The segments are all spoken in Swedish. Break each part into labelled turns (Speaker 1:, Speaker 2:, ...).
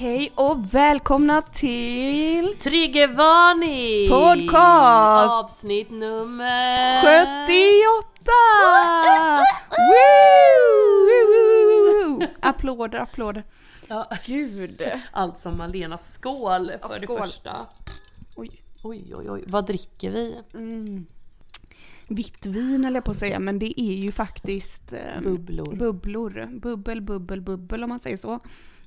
Speaker 1: Hej och välkomna till
Speaker 2: Triggervarning!
Speaker 1: Podcast!
Speaker 2: Avsnitt nummer...
Speaker 1: 78! Woo! Woo, woo, woo, woo! Applåder, applåder.
Speaker 2: Ja,
Speaker 1: Gud.
Speaker 2: allt som Malena, skål för
Speaker 1: Ja,
Speaker 2: det
Speaker 1: skål.
Speaker 2: första!
Speaker 1: Oj.
Speaker 2: Oj, oj, oj, vad dricker vi?
Speaker 1: Mm. Vitt vin eller på att säga, men det är ju faktiskt eh,
Speaker 2: Bubblor.
Speaker 1: bubblor. Bubbel, bubbel, bubbel om man säger så.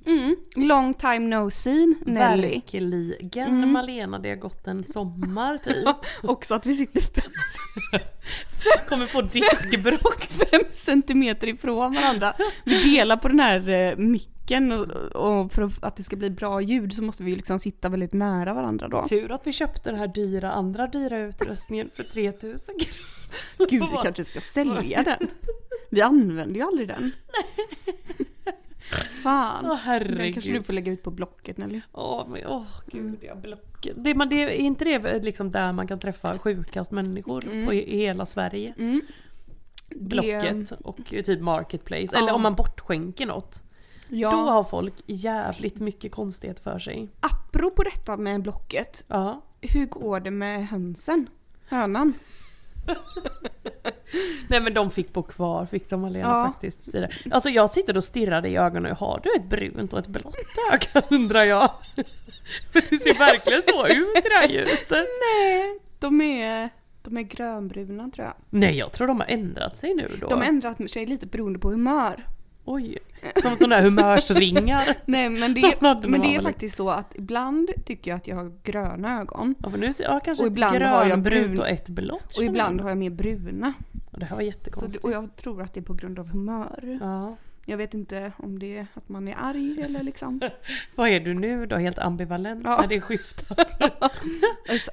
Speaker 1: Mm. Long time no seen, Nelly.
Speaker 2: Verkligen
Speaker 1: Mm.
Speaker 2: Malena, det har gått en sommar typ.
Speaker 1: Också att vi sitter fem,
Speaker 2: Kommer få diskbråck.
Speaker 1: fem centimeter ifrån varandra. Vi delar på den här eh, micken och, och för att det ska bli bra ljud så måste vi ju liksom sitta väldigt nära varandra då.
Speaker 2: Tur att vi köpte den här dyra, andra dyra utrustningen för 3000 kronor.
Speaker 1: Gud, vi kanske ska sälja den. Vi använder ju aldrig den. Fan.
Speaker 2: Åh
Speaker 1: Den kanske du
Speaker 2: herregud.
Speaker 1: får Mm. lägga ut på Blocket eller?
Speaker 2: Åh men åh gud, jag blockar. Det, men det, är inte det liksom där man kan träffa sjukast människor på, i, i hela Sverige?
Speaker 1: Mm.
Speaker 2: Blocket och typ Marketplace.
Speaker 1: Ja.
Speaker 2: Eller om man bortskänker något.
Speaker 1: Ja.
Speaker 2: Då har folk jävligt mycket konstighet för sig.
Speaker 1: Apropå detta med Blocket.
Speaker 2: Ja.
Speaker 1: Hur går det med hönsen? Hönan?
Speaker 2: Nej men de fick bo kvar, fick de Malena
Speaker 1: Ja.
Speaker 2: faktiskt. och så vidare. Alltså jag sitter och stirrar dig i ögonen och har du ett brunt och ett blått öga undrar jag. För det ser verkligen så ut i det här ljuset.
Speaker 1: Nej, de är, de är grönbruna tror jag.
Speaker 2: Nej jag tror de har ändrat sig nu då.
Speaker 1: De har ändrat sig lite beroende på humör.
Speaker 2: Oj. Som sådana här humörsringar.
Speaker 1: Nej men det,
Speaker 2: Sådana hade man
Speaker 1: men det är
Speaker 2: väl.
Speaker 1: faktiskt så att ibland tycker jag att jag har gröna ögon.
Speaker 2: Ja, för nu ser, ja, kanske
Speaker 1: Och ibland
Speaker 2: ett
Speaker 1: har jag
Speaker 2: grönbrunt
Speaker 1: brun-
Speaker 2: och ett blått.
Speaker 1: Och
Speaker 2: känner
Speaker 1: ibland
Speaker 2: jag.
Speaker 1: har jag mer bruna.
Speaker 2: Och Det här var
Speaker 1: Så, det-
Speaker 2: jättekonstigt.
Speaker 1: och jag tror att det är på grund av humör.
Speaker 2: ja.
Speaker 1: Jag vet inte om det är att man är arg eller liksom.
Speaker 2: Vad är du nu då? Helt ambivalent
Speaker 1: Ja.
Speaker 2: när det skiftar?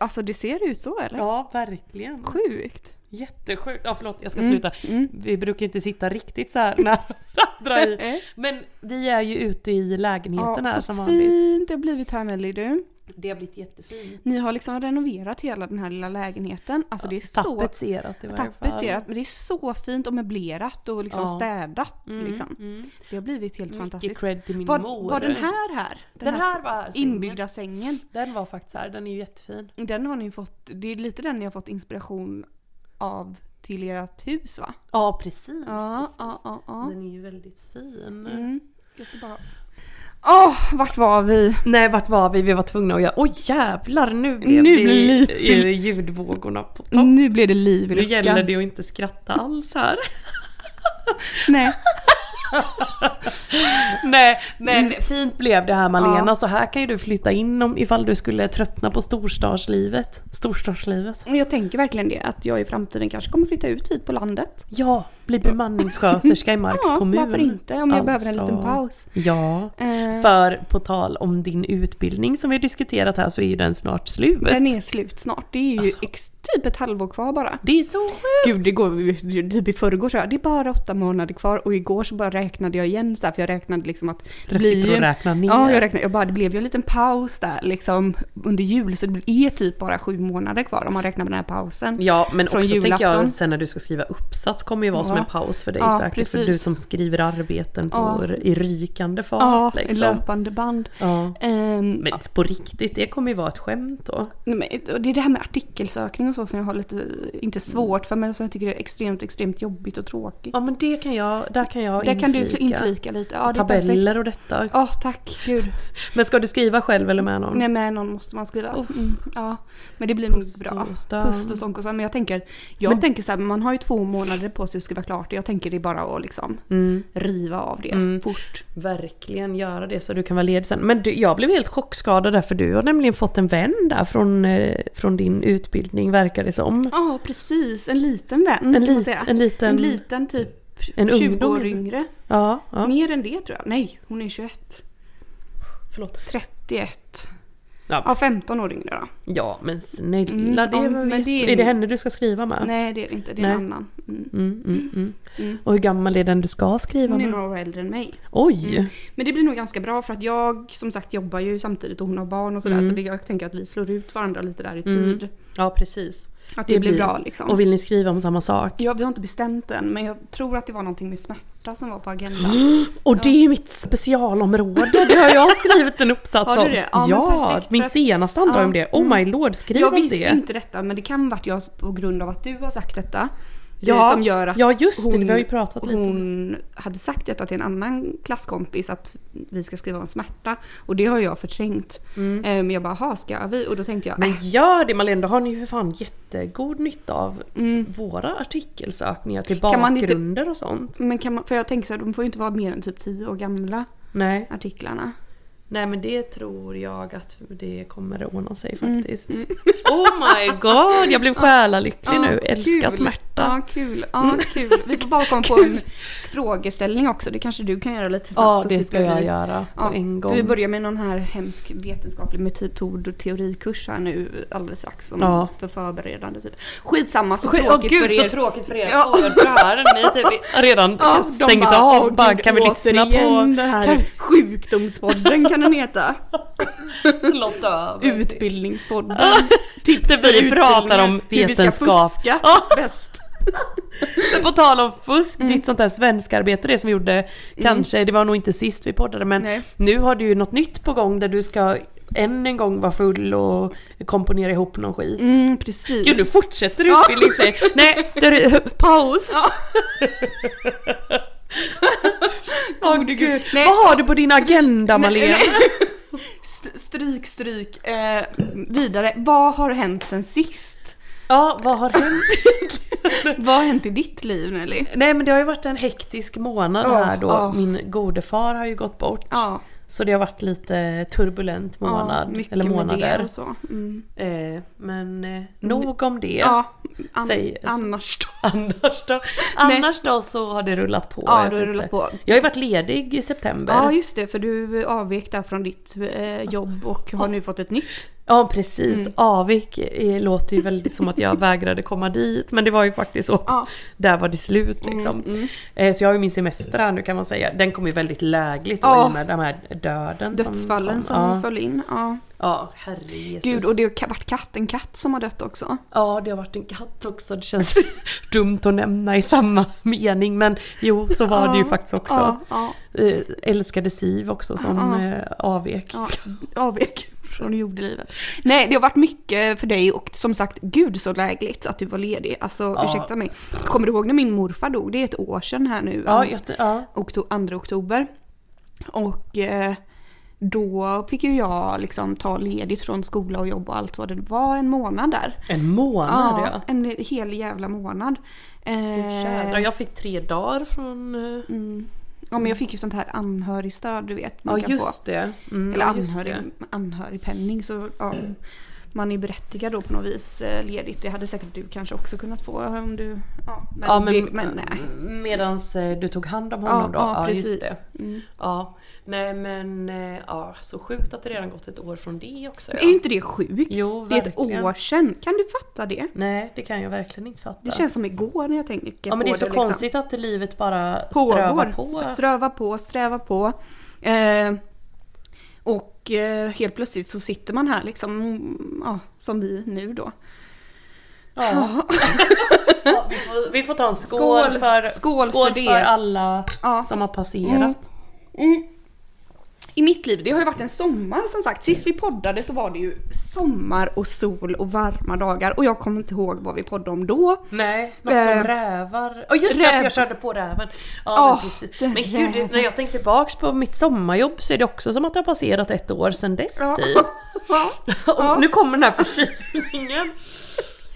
Speaker 1: Alltså det ser ut så eller?
Speaker 2: Ja, verkligen.
Speaker 1: Sjukt.
Speaker 2: Jättesjukt. Ja, förlåt, jag ska
Speaker 1: Mm,
Speaker 2: sluta.
Speaker 1: mm.
Speaker 2: Vi brukar ju inte sitta riktigt så här nära varandra. I.
Speaker 1: Eh.
Speaker 2: Men vi är ju ute i lägenheten här
Speaker 1: Ja,
Speaker 2: som
Speaker 1: så
Speaker 2: vanligt.
Speaker 1: fint det har blivit här Nelly du.
Speaker 2: Det har blivit jättefint.
Speaker 1: Ni har liksom renoverat hela den här lilla lägenheten. Alltså det är så
Speaker 2: Tapetserat i varje fall.
Speaker 1: tapetserat men det är så fint och möblerat och liksom
Speaker 2: Ja.
Speaker 1: städat
Speaker 2: Mm,
Speaker 1: liksom.
Speaker 2: mm.
Speaker 1: Det har blivit helt
Speaker 2: Mycket
Speaker 1: fantastiskt.
Speaker 2: cred till min
Speaker 1: Var,
Speaker 2: mor.
Speaker 1: var den här här?
Speaker 2: Den här var här, sängen.
Speaker 1: inbyggda sängen.
Speaker 2: Den var faktiskt här, den är ju jättefin.
Speaker 1: Den har ni fått, det är lite den ni har fått inspiration av till ert hus va?
Speaker 2: Ja, precis.
Speaker 1: Ja,
Speaker 2: precis.
Speaker 1: ja, ja. ja.
Speaker 2: Den är ju väldigt fin.
Speaker 1: Mm. Jag ska bara... Åh, vart var vi?
Speaker 2: Nej vart var vi? Vi var tvungna att göra... Oj jävlar nu blev
Speaker 1: Nu
Speaker 2: det
Speaker 1: blir det-
Speaker 2: eh, ljudvågorna på topp.
Speaker 1: Nu blev det liv
Speaker 2: Nu
Speaker 1: i luckan.
Speaker 2: gäller det att inte skratta alls här.
Speaker 1: Nej.
Speaker 2: Nej men fint blev det här Malena,
Speaker 1: Mm. Ja.
Speaker 2: så här kan ju du flytta in om, ifall du skulle tröttna på storstadslivet. Storstadslivet.
Speaker 1: Men Jag tänker verkligen det, att jag i framtiden kanske kommer flytta ut hit på landet.
Speaker 2: Ja, bli bemanningssköterska i Marks
Speaker 1: Ja,
Speaker 2: kommun.
Speaker 1: varför inte? Om jag behöver en
Speaker 2: Alltså,
Speaker 1: liten paus.
Speaker 2: Ja.
Speaker 1: Eh,
Speaker 2: För på tal om din utbildning som vi har diskuterat här så är ju den snart slut.
Speaker 1: den är slut snart. Det är ju
Speaker 2: Alltså.
Speaker 1: ex, typ ett halvår kvar bara.
Speaker 2: Det är så sjukt!
Speaker 1: Gud, det går ju- typ i förrgår så jag, det är bara åtta månader kvar och igår så bara räknade jag igen så här, för jag räknade liksom att... det blir
Speaker 2: sitter och
Speaker 1: ju-
Speaker 2: räknar ner.
Speaker 1: Ja, jag räknade, jag bara, det blev ju en liten paus där liksom under jul så det är typ bara sju månader kvar om man räknar med den här pausen.
Speaker 2: Ja men
Speaker 1: Från
Speaker 2: också tänker jag
Speaker 1: julafton.
Speaker 2: sen när du ska skriva uppsats kommer ju vara som
Speaker 1: Ja.
Speaker 2: en paus för dig
Speaker 1: Ja,
Speaker 2: säkert. För
Speaker 1: precis.
Speaker 2: du som skriver arbeten på, i rykande fart.
Speaker 1: Ja,
Speaker 2: liksom.
Speaker 1: löpande band.
Speaker 2: ja.
Speaker 1: Ehm,
Speaker 2: Men på riktigt, det kommer ju vara ett skämt då.
Speaker 1: nej, men, och det är det här med artikelsökning och så som jag har lite,
Speaker 2: Mm.
Speaker 1: inte svårt för men som jag tycker är extremt, extremt jobbigt och tråkigt.
Speaker 2: Ja men det kan jag, där kan jag
Speaker 1: Där kan du
Speaker 2: inflika.
Speaker 1: inflika lite. Ja, det är perfekt.
Speaker 2: Tabeller Mm. och detta.
Speaker 1: Ja, tack gud.
Speaker 2: Men ska du skriva själv eller med någon?
Speaker 1: Nej men någon måste man skriva.
Speaker 2: Uff.
Speaker 1: Mm, ja. Men det blir nog
Speaker 2: Pust
Speaker 1: bra.
Speaker 2: och stön.
Speaker 1: Pust och sånt och så. Men jag tänker, jag
Speaker 2: Men-
Speaker 1: tänker så här, man har ju två månader på sig att skriva klart det. Jag tänker det är bara att liksom
Speaker 2: Mm.
Speaker 1: riva av det
Speaker 2: Mm.
Speaker 1: fort.
Speaker 2: Verkligen göra det så du kan vara ledig sen. Men du, jag blev helt chockskadad där för du har nämligen fått en vän där från, eh, från din utbildning verkar det som.
Speaker 1: Ja precis, en liten vän
Speaker 2: En,
Speaker 1: Mm, kan man
Speaker 2: li-
Speaker 1: säga.
Speaker 2: en liten...
Speaker 1: En liten typ
Speaker 2: En
Speaker 1: 20
Speaker 2: ungdom,
Speaker 1: år
Speaker 2: eller?
Speaker 1: yngre.
Speaker 2: ja, ja.
Speaker 1: Mer än det tror jag. Nej, hon är 21.
Speaker 2: Förlåt.
Speaker 1: 31.
Speaker 2: Ja.
Speaker 1: Ja, 15 år yngre då.
Speaker 2: Ja men snälla,
Speaker 1: Mm,
Speaker 2: det är,
Speaker 1: ja,
Speaker 2: väl
Speaker 1: men det
Speaker 2: jätte-
Speaker 1: är-
Speaker 2: är det henne du ska skriva med?
Speaker 1: Nej det är det inte, det är en
Speaker 2: Nej.
Speaker 1: annan. Mm.
Speaker 2: Mm, mm, mm.
Speaker 1: Mm.
Speaker 2: Och hur gammal är den du ska skriva
Speaker 1: Hon är Mm.
Speaker 2: med?
Speaker 1: några år äldre än mig.
Speaker 2: Oj!
Speaker 1: Men det blir nog ganska bra för att jag som sagt jobbar ju samtidigt och hon har barn och sådär
Speaker 2: Mm.
Speaker 1: så det, jag tänker att vi slår ut varandra lite där i
Speaker 2: Mm.
Speaker 1: tid.
Speaker 2: Ja precis.
Speaker 1: Att
Speaker 2: Det
Speaker 1: det, blir
Speaker 2: blir-
Speaker 1: bra liksom.
Speaker 2: Och vill ni skriva om samma sak?
Speaker 1: Ja, vi har inte bestämt än men jag tror att det var någonting med smärta som var på agendan.
Speaker 2: Och det är ju mitt specialområde, det har jag skrivit en uppsats
Speaker 1: Har
Speaker 2: om.
Speaker 1: du det? Ja, men perfekt, för
Speaker 2: min
Speaker 1: att-
Speaker 2: senaste handlar
Speaker 1: Ja, Mm.
Speaker 2: om det. Oh my lord, skriv
Speaker 1: Jag
Speaker 2: om
Speaker 1: visste
Speaker 2: det.
Speaker 1: inte detta men det kan varit jag på grund av att du har sagt detta. eh,
Speaker 2: Ja,
Speaker 1: som gör att
Speaker 2: ja just det,
Speaker 1: hon-
Speaker 2: vi har ju pratat lite om det.
Speaker 1: Hon hade sagt detta till en annan klasskompis att vi ska skriva om smärta och det har jag förträngt. Eh, Men jag bara, "Jaha, ska vi? Och då tänkte jag,
Speaker 2: Mm. Men
Speaker 1: äh,
Speaker 2: gör det Malin, då har ni ju för fan jättegod nytta av
Speaker 1: mm,
Speaker 2: våra artikelsökningar till
Speaker 1: Kan man inte-
Speaker 2: bakgrunder och sånt.
Speaker 1: "Äh, men kan man, för jag tänker så här, de får ju inte vara mer än typ 10 år gamla
Speaker 2: Nej.
Speaker 1: artiklarna.
Speaker 2: Nej men det tror jag att det kommer att ordna sig faktiskt. Oh my god, jag blev själalycklig
Speaker 1: Mm. Ja,
Speaker 2: nu. Älskar
Speaker 1: kul.
Speaker 2: smärta. Mm.
Speaker 1: Ja, kul. Ja, kul. Vi får bara komma på en frågeställning också. Det kanske du kan göra lite snabbt.
Speaker 2: Ja
Speaker 1: så
Speaker 2: det ska
Speaker 1: slipper
Speaker 2: jag
Speaker 1: vi-
Speaker 2: göra på
Speaker 1: Ja,
Speaker 2: en
Speaker 1: Vi
Speaker 2: gång.
Speaker 1: börjar med någon här hemsk vetenskaplig metod och teorikurs här nu alldeles strax. Som
Speaker 2: Ja.
Speaker 1: För förberedande typ. Skitsamma, så
Speaker 2: Skit- Åh
Speaker 1: tråkigt
Speaker 2: gud
Speaker 1: för
Speaker 2: så
Speaker 1: er.
Speaker 2: tråkigt för er
Speaker 1: Ja.
Speaker 2: föräldrar. Ni är typ redan
Speaker 1: Ja, de
Speaker 2: stängt
Speaker 1: bara,
Speaker 2: av.
Speaker 1: "Åh,
Speaker 2: Bara,
Speaker 1: gud,
Speaker 2: kan vi lyssna
Speaker 1: återigen
Speaker 2: på
Speaker 1: det här sjukdomspodden kan den heta.
Speaker 2: slått över?
Speaker 1: Utbildningspodden.
Speaker 2: Titta
Speaker 1: För
Speaker 2: vi pratar
Speaker 1: utbildningar,
Speaker 2: om
Speaker 1: hur vi ska
Speaker 2: vetenskap.
Speaker 1: fuska bäst.
Speaker 2: Men på tal om fusk,
Speaker 1: Mm.
Speaker 2: ditt sånt där svenskarbete, det som vi gjorde kanske, det var nog inte sist vi poddade men
Speaker 1: Nej.
Speaker 2: nu har du ju något nytt på gång där du ska än en gång vara full och komponera ihop någon skit.
Speaker 1: Mm, precis.
Speaker 2: Gud nu fortsätter
Speaker 1: Ja.
Speaker 2: utbildningsgrejen. Nej, större, paus!
Speaker 1: Ja.
Speaker 2: Åh
Speaker 1: Gode
Speaker 2: gud.
Speaker 1: gud. Nej.
Speaker 2: Vad har du på din agenda
Speaker 1: Nej,
Speaker 2: Malena?
Speaker 1: nej. St- Stryk, stryk. Eh, vidare. Vad har hänt sen sist?
Speaker 2: Ja, vad har hänt?
Speaker 1: Vad har hänt i ditt liv Nelly?
Speaker 2: Nej men det har ju varit en hektisk månad
Speaker 1: Ja,
Speaker 2: här då.
Speaker 1: ja.
Speaker 2: Min gode far har ju gått bort.
Speaker 1: Ja,
Speaker 2: Så det har varit lite turbulent månad,
Speaker 1: ja, mycket
Speaker 2: eller
Speaker 1: Med det
Speaker 2: månader.
Speaker 1: och så. Mm.
Speaker 2: Eh, men eh, nog om det.
Speaker 1: Ja, an-
Speaker 2: Säg-
Speaker 1: annars då.
Speaker 2: Annars, då, annars då så har det rullat på.
Speaker 1: Ja,
Speaker 2: jag
Speaker 1: du har
Speaker 2: vet
Speaker 1: rullat
Speaker 2: inte.
Speaker 1: på.
Speaker 2: Jag har ju varit ledig i september.
Speaker 1: Ja
Speaker 2: Ja,
Speaker 1: just det, för du avvek där från ditt eh, jobb och har nu fått ett nytt.
Speaker 2: precis.
Speaker 1: Mm.
Speaker 2: Avvik eh, låter ju väldigt som att jag vägrade komma dit. Men det var ju faktiskt så att
Speaker 1: Ja. Mm,
Speaker 2: där var det slut liksom. Eh, Så jag har ju min semester här nu kan man säga. Den kom ju väldigt lägligt då,
Speaker 1: Ja,
Speaker 2: i och med den här döden
Speaker 1: Dödsfallen som,
Speaker 2: som kom. ja.
Speaker 1: föll in. Ja.
Speaker 2: ja, herre Jesus.
Speaker 1: Gud, och det har ka- varit katt, en katt som har dött också.
Speaker 2: Ja, det har varit en katt också. Det känns dumt att nämna i samma mening. Men jo, så var det ju
Speaker 1: Ja,
Speaker 2: faktiskt också.
Speaker 1: Ja, ja,
Speaker 2: Eh, älskade Siv också som
Speaker 1: Ja.
Speaker 2: eh, avvek.
Speaker 1: ja. Avvek från jordelivet. Nej, det har varit mycket för dig och som sagt, gud så lägligt att du var ledig. Alltså ursäkta mig. Kommer du ihåg när min morfar dog? Det är ett år sedan här nu.
Speaker 2: Ja, jag, ja.
Speaker 1: okto- 2 oktober. Och eh, då fick ju jag liksom ta ledigt från skola och jobb och allt vad det var en månad där.
Speaker 2: En månad ja.
Speaker 1: en hel jävla månad. Eh,
Speaker 2: Jädrar, jag fick tre dagar från... eh,
Speaker 1: mm. Ja men jag fick ju sånt här anhörigstöd du vet. Man
Speaker 2: Ja
Speaker 1: kan
Speaker 2: just det. Mm,
Speaker 1: få. Eller
Speaker 2: ja, just
Speaker 1: anhörig,
Speaker 2: det.
Speaker 1: anhörigpenning. Så, ja, man är berättigad då på något vis eh, ledigt. Det hade säkert du kanske också kunnat få om du... Ja men,
Speaker 2: Ja, men,
Speaker 1: det, men nej.
Speaker 2: Medans eh, du tog hand om honom då? Ja, just det.
Speaker 1: Mm.
Speaker 2: Ja. Nej men eh, ja, så sjukt att det redan gått ett år från det också.
Speaker 1: Är
Speaker 2: Ja.
Speaker 1: inte det sjukt?
Speaker 2: Jo,
Speaker 1: det är ett
Speaker 2: verkligen.
Speaker 1: år sedan. Kan du fatta det?
Speaker 2: Nej det kan jag verkligen inte fatta.
Speaker 1: Det känns som igår när jag tänker
Speaker 2: ja men det
Speaker 1: på
Speaker 2: är så
Speaker 1: liksom.
Speaker 2: konstigt att livet bara strövar
Speaker 1: Pågår. Alltså,
Speaker 2: på.
Speaker 1: Ströva på, sträva på. Eh, och eh, helt plötsligt så sitter man här liksom, mm, ja, som vi nu då.
Speaker 2: Ja. ja, vi, får, vi får ta en skål,
Speaker 1: Skål.
Speaker 2: för,
Speaker 1: Skål för
Speaker 2: skål för,
Speaker 1: det.
Speaker 2: alla
Speaker 1: Ja.
Speaker 2: som har passerat.
Speaker 1: I mitt liv, det har ju varit en sommar som sagt. Sist vi poddade så var det ju sommar och sol och varma dagar och jag kommer inte ihåg vad vi poddade om då.
Speaker 2: Nej, något som
Speaker 1: Eh,
Speaker 2: rävar. Och just det,
Speaker 1: räv-
Speaker 2: att jag körde på räven. Ja,
Speaker 1: Åh,
Speaker 2: men precis.
Speaker 1: den
Speaker 2: Men gud,
Speaker 1: räven.
Speaker 2: det- när jag tänkte tillbaks på mitt sommarjobb så är det också som att det har passerat ett år sedan dess
Speaker 1: Ja.
Speaker 2: typ.
Speaker 1: Ja.
Speaker 2: Och
Speaker 1: Ja.
Speaker 2: nu kommer den här förkylningen.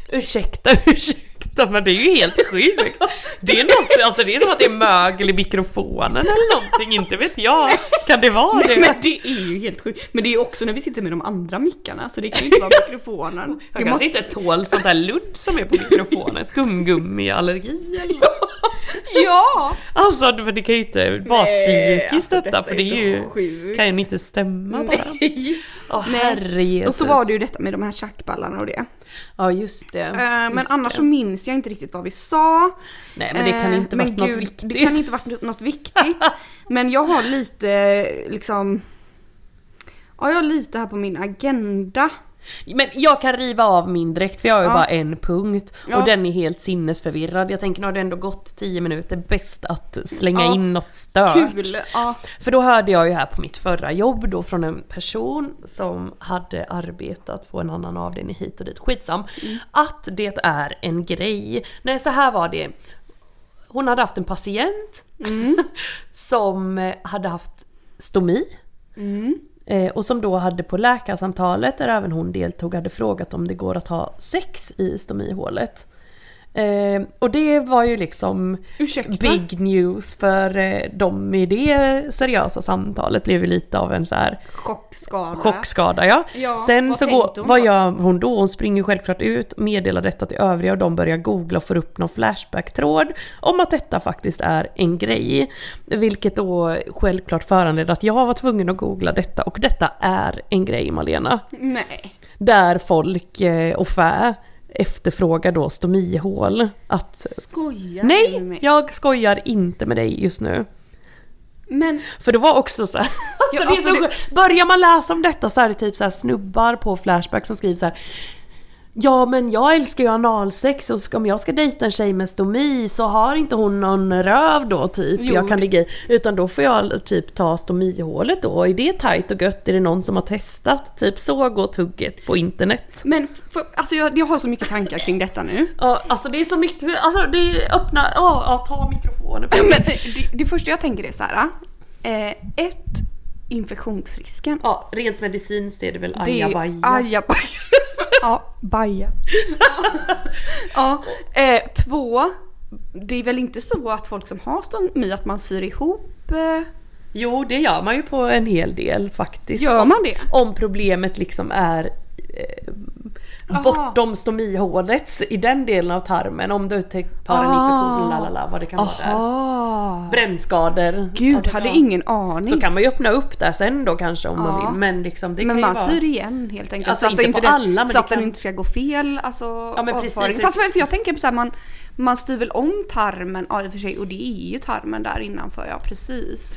Speaker 2: Ursäkta, ursäkta men det är ju helt sjukt. Det är något, alltså det är som att det är mögel i mikrofonen eller någonting, inte vet jag. Kan det vara det?
Speaker 1: Men det är ju helt sjukt. Men det är också när vi sitter med de andra mickarna så det kan ju inte vara mikrofonen.
Speaker 2: Jag
Speaker 1: Det
Speaker 2: kanske inte tål sånt där ludd som är på mikrofonen, skumgummiallergi eller något.
Speaker 1: Ja!
Speaker 2: Alltså för det kan ju inte vara
Speaker 1: alltså,
Speaker 2: psykiskt detta för det är ju,
Speaker 1: sjukt.
Speaker 2: kan ju inte stämma bara.
Speaker 1: Nej.
Speaker 2: Åh
Speaker 1: Nej.
Speaker 2: herre Jesus.
Speaker 1: Och så var det ju detta med de här tjackballarna och det.
Speaker 2: Ja just det.
Speaker 1: Eh, men
Speaker 2: just
Speaker 1: annars
Speaker 2: det.
Speaker 1: så minns jag inte riktigt vad vi sa.
Speaker 2: Nej men det kan
Speaker 1: Eh,
Speaker 2: inte
Speaker 1: men
Speaker 2: varit något
Speaker 1: gud,
Speaker 2: viktigt.
Speaker 1: Det kan inte varit något viktigt. men jag har lite liksom... Ja, jag har lite här på min agenda.
Speaker 2: Men jag kan riva av min direkt för jag har ju
Speaker 1: Ja.
Speaker 2: bara en punkt
Speaker 1: Ja.
Speaker 2: och den är helt sinnesförvirrad. Jag tänker nu har det ändå gått 10 minuter, bäst att slänga
Speaker 1: Ja.
Speaker 2: in något stört.
Speaker 1: Kul! Ja.
Speaker 2: För då hörde jag ju här på mitt förra jobb då från en person som hade arbetat på en annan avdelning hit och dit, skitsam. Att det är en grej. Nej så här var det. Hon hade haft en patient som eh, hade haft stomi. Eh, Och som då hade på läkarsamtalet där även hon deltog hade frågat om det går att ha sex i stomihålet. Eh, och det var ju liksom
Speaker 1: Ursäkta?
Speaker 2: big news för eh, de i det seriösa samtalet blev ju lite av en så här
Speaker 1: Chockskada.
Speaker 2: chockskada. Ja.
Speaker 1: Ja,
Speaker 2: Sen
Speaker 1: vad
Speaker 2: så
Speaker 1: tänkte
Speaker 2: går,
Speaker 1: hon
Speaker 2: vad
Speaker 1: då?
Speaker 2: gör hon då? Hon springer självklart ut, meddelar detta till övriga och de börjar googla och får upp någon flashback-tråd om att detta faktiskt är en grej. Vilket då självklart föranledde att jag var tvungen att googla detta och detta är en grej Malena.
Speaker 1: Nej.
Speaker 2: Där folk eh, och fä efterfrågar då stomihål. Att
Speaker 1: Skojar du med
Speaker 2: Nej,
Speaker 1: mig?
Speaker 2: jag skojar inte med dig just nu.
Speaker 1: Men
Speaker 2: För det var också så här,
Speaker 1: Ja,
Speaker 2: alltså, det
Speaker 1: alltså,
Speaker 2: är så
Speaker 1: det-
Speaker 2: sjukt. Börjar man läsa om detta så är det typ så här snubbar på Flashback som skriver så här. Ja men jag älskar ju analsex och ska- om jag ska dejta en tjej med stomi så har inte hon någon röv då typ
Speaker 1: Jo.
Speaker 2: jag kan ligga i. Utan då får jag typ ta stomihålet då. Är det tajt och gött? Är det någon som har testat? Typ så går tugget på internet.
Speaker 1: Men f- f- alltså jag, jag har så mycket tankar kring detta nu.
Speaker 2: Ja, alltså det är så mycket, alltså det är öppna, ja ja, ta mikrofonen.
Speaker 1: Men det, det första jag tänker är så här. Eh, ett, infektionsrisken.
Speaker 2: Ja, rent medicinskt är det väl
Speaker 1: Det är-
Speaker 2: ajabaja.
Speaker 1: Ajabaja. ja, baja. ja, eh, två, det är väl inte så att folk som har stomi att man syr ihop? Eh,
Speaker 2: Jo, det gör man ju på en hel del faktiskt.
Speaker 1: Gör
Speaker 2: Om-
Speaker 1: man det?
Speaker 2: Om problemet liksom är eh, bortom stomihålet i den delen av tarmen. Om du typ har en infektion,
Speaker 1: Ah.
Speaker 2: lalala, vad det kan vara där.
Speaker 1: ah.
Speaker 2: Brännskador.
Speaker 1: Gud,
Speaker 2: Alltså,
Speaker 1: hade
Speaker 2: ja.
Speaker 1: ingen aning.
Speaker 2: Så kan man ju öppna upp där sen då kanske om man
Speaker 1: Ja.
Speaker 2: vill. Men liksom det
Speaker 1: men
Speaker 2: kan
Speaker 1: man
Speaker 2: ju vara...
Speaker 1: syr igen helt enkelt.
Speaker 2: Alltså,
Speaker 1: så att,
Speaker 2: inte
Speaker 1: inte
Speaker 2: på
Speaker 1: den,
Speaker 2: alla, men
Speaker 1: så
Speaker 2: det
Speaker 1: att
Speaker 2: kan-
Speaker 1: den inte ska gå fel. Alltså,
Speaker 2: Ja, men precis.
Speaker 1: avföring. Fast för, för jag tänker på så här, man, man styr väl om tarmen, ja i och för sig, och det är ju tarmen där innanför, ja precis.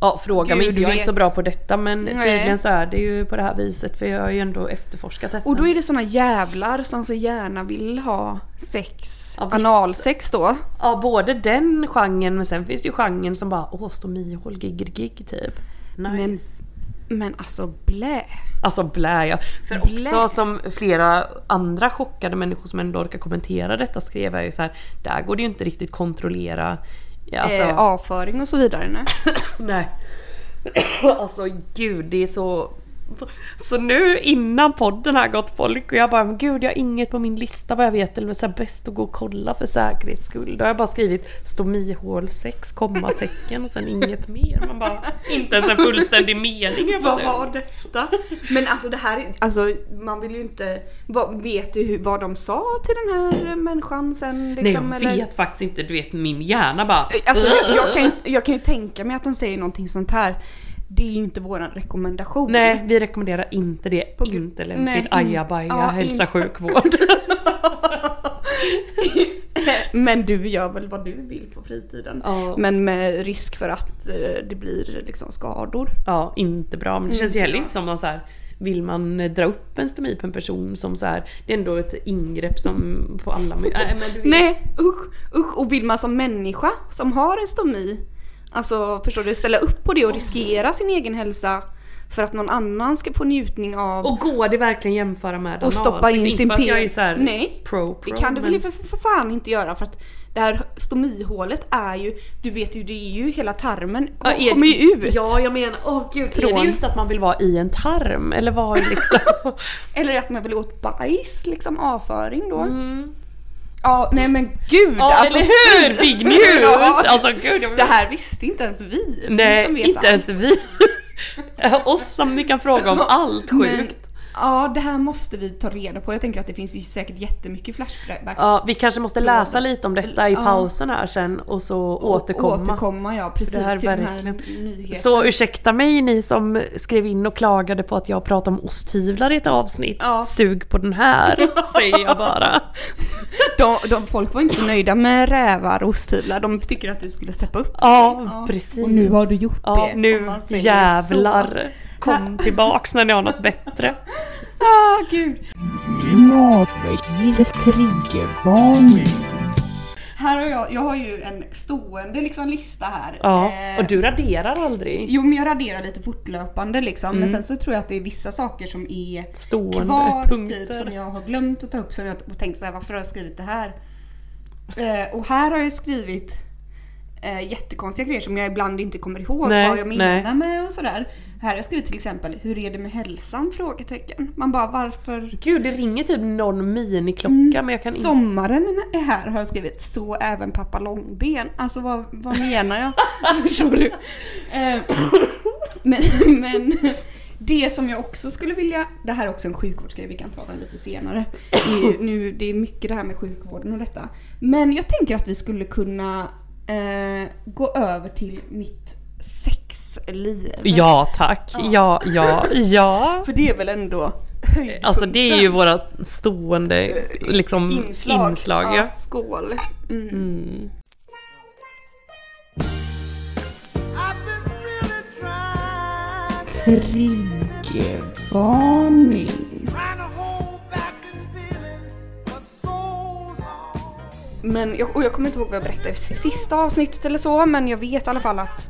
Speaker 2: Ja, fråga mig.
Speaker 1: Gud,
Speaker 2: Du är
Speaker 1: vet.
Speaker 2: inte så bra på detta men
Speaker 1: Nej.
Speaker 2: tydligen så är det ju på det här viset för jag har ju ändå efterforskat detta.
Speaker 1: Och då är det såna jävlar som så gärna vill ha sex,
Speaker 2: Ja, visst.
Speaker 1: analsex då.
Speaker 2: Ja, både den genren men sen finns det ju genren som bara åh stomihål, giggergigg typ. Nice.
Speaker 1: Men, men alltså blä.
Speaker 2: Alltså blä ja. För
Speaker 1: Blä.
Speaker 2: också som flera andra chockade människor som ändå orkar kommentera detta skrev jag ju så här. Där går det ju inte riktigt kontrollera. Ja, alltså,
Speaker 1: Eh, avföring och så vidare. Nej.
Speaker 2: nej. alltså gud det är så... Så nu innan podden har gått folk och jag bara men gud jag har inget på min lista vad jag vet eller så här, bäst att gå och kolla för säkerhets skull. Då har jag bara skrivit stomihål 6 kommatecken och sen inget mer. Man bara inte ens en fullständig mening. Jag bara,
Speaker 1: detta? Men alltså det här, är- alltså man vill ju inte, vad, vet du hur, vad de sa till den här eh, människan sen?
Speaker 2: Nej
Speaker 1: Liksom,
Speaker 2: jag
Speaker 1: eller?
Speaker 2: vet faktiskt inte, du vet min hjärna bara...
Speaker 1: Alltså, jag, jag, kan, ju- jag kan ju tänka mig att de säger någonting sånt här. Det är ju inte vår rekommendation.
Speaker 2: Nej vi rekommenderar inte det,
Speaker 1: gr-
Speaker 2: inte
Speaker 1: Nej,
Speaker 2: lämpligt.
Speaker 1: in-
Speaker 2: Ajabaja,
Speaker 1: ja,
Speaker 2: hälsa
Speaker 1: in-
Speaker 2: sjukvård.
Speaker 1: Men du gör väl vad du vill på fritiden.
Speaker 2: Ja.
Speaker 1: Men med risk för att eh, det blir liksom skador.
Speaker 2: ja, inte bra. Men det känns ju heller inte som någon så här vill man eh, dra upp en stomi på en person som så här, det är ändå ett ingrepp som på alla... Nej men du vet.
Speaker 1: Nej usch, usch. Och vill man som människa som har en stomi, alltså förstår du, ställa upp på det och riskera sin egen hälsa för att någon annan ska få njutning av
Speaker 2: Och går det verkligen jämföra med
Speaker 1: Och stoppa in sin
Speaker 2: p... jag
Speaker 1: pe-
Speaker 2: är så här
Speaker 1: Nej,
Speaker 2: pro, pro
Speaker 1: Det kan du
Speaker 2: men-
Speaker 1: väl för, för, för fan inte göra för att det här stomihålet är ju, du vet ju det är ju hela tarmen
Speaker 2: Ja, är-
Speaker 1: kommer ju ut.
Speaker 2: Ja jag menar, åh gud. Är
Speaker 1: Från-
Speaker 2: det just att man vill vara i en tarm? Eller vad är liksom...
Speaker 1: Eller att man vill åt bajs, liksom avföring då.
Speaker 2: Mm.
Speaker 1: Ja, nej men gud
Speaker 2: Ja
Speaker 1: alltså.
Speaker 2: eller hur! Big news!
Speaker 1: Ja.
Speaker 2: Alltså gud jag
Speaker 1: Det här visste inte ens vi. vi
Speaker 2: Nej
Speaker 1: som vet
Speaker 2: inte
Speaker 1: allt.
Speaker 2: ens vi. Oss som ni kan fråga om allt
Speaker 1: Men-
Speaker 2: sjukt.
Speaker 1: Ja, det här måste vi ta reda på. Jag tänker att det finns ju säkert jättemycket flashback.
Speaker 2: Ja, vi kanske måste läsa lite om detta i pausen här sen och så återkomma.
Speaker 1: Återkomma ja, precis
Speaker 2: det här
Speaker 1: till
Speaker 2: verkligen-
Speaker 1: den här nyheten.
Speaker 2: Så ursäkta mig ni som skrev in och klagade på att jag pratade om osthyvlar i ett avsnitt.
Speaker 1: Ja.
Speaker 2: Sug på den här, säger jag bara.
Speaker 1: De, de, folk var inte så nöjda med rävar och osthyvlar. De tycker att du skulle steppa upp.
Speaker 2: Ja, precis.
Speaker 1: Och nu har du gjort
Speaker 2: ja,
Speaker 1: det. om
Speaker 2: nu
Speaker 1: man säger så.
Speaker 2: jävlar. Kom tillbaks när ni har något bättre.
Speaker 1: Ah, gud.
Speaker 3: Klimatväckande triggervarning.
Speaker 1: Här har jag, jag har ju en stående liksom lista här.
Speaker 2: Ja,
Speaker 1: Eh,
Speaker 2: och du raderar aldrig
Speaker 1: Jo men jag raderar lite fortlöpande liksom. Men sen så tror jag att det är vissa saker som är
Speaker 2: Mm. stående
Speaker 1: kvar typ
Speaker 2: punkter.
Speaker 1: som jag har glömt att ta upp som jag och tänkt så här, varför har jag skrivit det här? Eh, och här har jag skrivit eh, jättekonstiga grejer som jag ibland inte kommer ihåg
Speaker 2: Nej,
Speaker 1: vad jag menar
Speaker 2: nej.
Speaker 1: med och sådär. Här har jag skrivit till exempel, hur är det med hälsan? Frågetecken. Man bara varför?
Speaker 2: Gud, det ringer typ någon miniklocka
Speaker 1: Mm.
Speaker 2: men jag kan inte...
Speaker 1: Sommaren är här har jag skrivit, så även pappa långben. Alltså vad, vad menar jag? Förstår du? Eh, men, men det som jag också skulle vilja, det här är också en sjukvårdsgrej, vi kan ta den lite senare. Det är, ju- nu, det är mycket det här med sjukvården och detta. Men jag tänker att vi skulle kunna eh, gå över till mitt sexliv.
Speaker 2: Ja tack, ja, ja, ja.
Speaker 1: För det är väl ändå höjdpunkten.
Speaker 2: Alltså det är ju våra stående liksom, inslag. ja.
Speaker 1: Skål.
Speaker 2: Mm.
Speaker 4: I've been really trying,
Speaker 3: Triggervarning.
Speaker 4: trying to hold back this feeling for so long.
Speaker 1: Men jag, och jag kommer inte ihåg vad jag berättade i sista avsnittet eller så men jag vet i alla fall att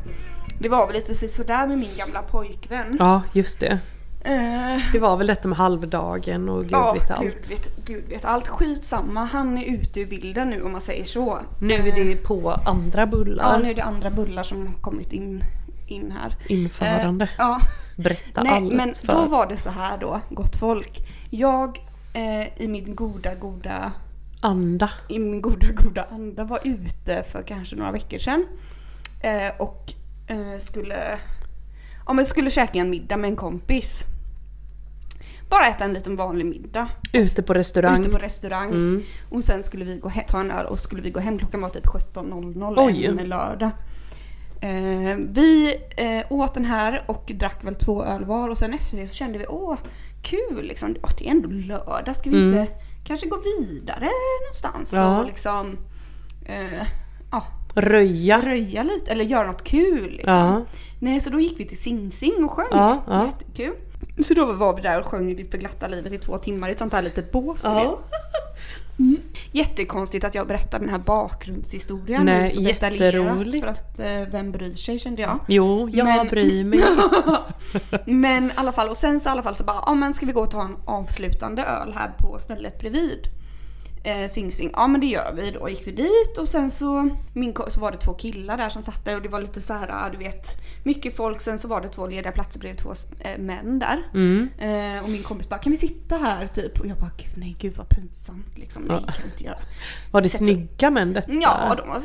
Speaker 1: det var väl lite sådär med min gamla pojkvän.
Speaker 2: ja, just det.
Speaker 1: Eh,
Speaker 2: Det var väl detta med halvdagen och gud
Speaker 1: ja,
Speaker 2: vet allt.
Speaker 1: Gud vet, Gud vet allt. Skitsamma, han är ute ur bilden nu om man säger så.
Speaker 2: Nu är det på andra
Speaker 1: Eh. Ja,
Speaker 2: bullar.
Speaker 1: nu Eh. är det andra bullar som har kommit in, in här.
Speaker 2: Införande.
Speaker 1: Eh, ja.
Speaker 2: Berätta
Speaker 1: Nej,
Speaker 2: allt
Speaker 1: men
Speaker 2: för...
Speaker 1: då var det så här då, gott folk. Jag eh, i min goda, goda
Speaker 2: Anda.
Speaker 1: i min goda, goda anda var ute för kanske några veckor sedan. Eh, och eh, skulle, ja, men skulle käka en middag med en kompis. Bara äta en liten vanlig middag
Speaker 2: Ute på restaurang. Mm.
Speaker 1: ute på restaurang. Och sen skulle vi gå he- ta en öl och skulle vi gå hem. Klockan var typ 17.00
Speaker 2: Oj.
Speaker 1: en lördag. Eh, vi eh, åt den här och drack väl två öl var och sen efter det så kände vi åh kul liksom. Åh, det är ändå lördag, ska vi inte kanske gå vidare någonstans
Speaker 2: Mm. Ja.
Speaker 1: och liksom eh, ja,
Speaker 2: Röja.
Speaker 1: röja lite eller göra något kul. Liksom.
Speaker 2: Ja.
Speaker 1: Nej, så då gick vi till Sing Sing och sjöng.
Speaker 2: Ja, ja.
Speaker 1: Jättekul. Så då var vi där och sjöng för glatta livet i två timmar i ett sånt här litet bås. du vet. Mm.
Speaker 2: Ja.
Speaker 1: Jättekonstigt att jag berättar den här bakgrundshistorien
Speaker 2: Nej,
Speaker 1: så detaljerat,
Speaker 2: jätteroligt.
Speaker 1: För att eh, vem bryr sig kände jag.
Speaker 2: Jo, jag
Speaker 1: Men-
Speaker 2: bryr mig.
Speaker 1: Men i alla fall, och sen så i alla fall så bara, ja men ska vi gå och ta en avslutande öl här på stället bredvid? Eh, Sing Sing, ja men det gör vi då. Gick vi dit och sen så, min, ko- så var det två killar där som satt där och det var lite så här, ah, du vet, mycket folk. Sen så var det två lediga platser bredvid två eh, män där. Eh, och min kompis bara, kan vi sitta här typ? Och jag bara, gud nej gud vad pinsamt liksom. Nej, kan vi inte göra. Mm,
Speaker 2: Var det snygga män detta?
Speaker 1: Ja, de var-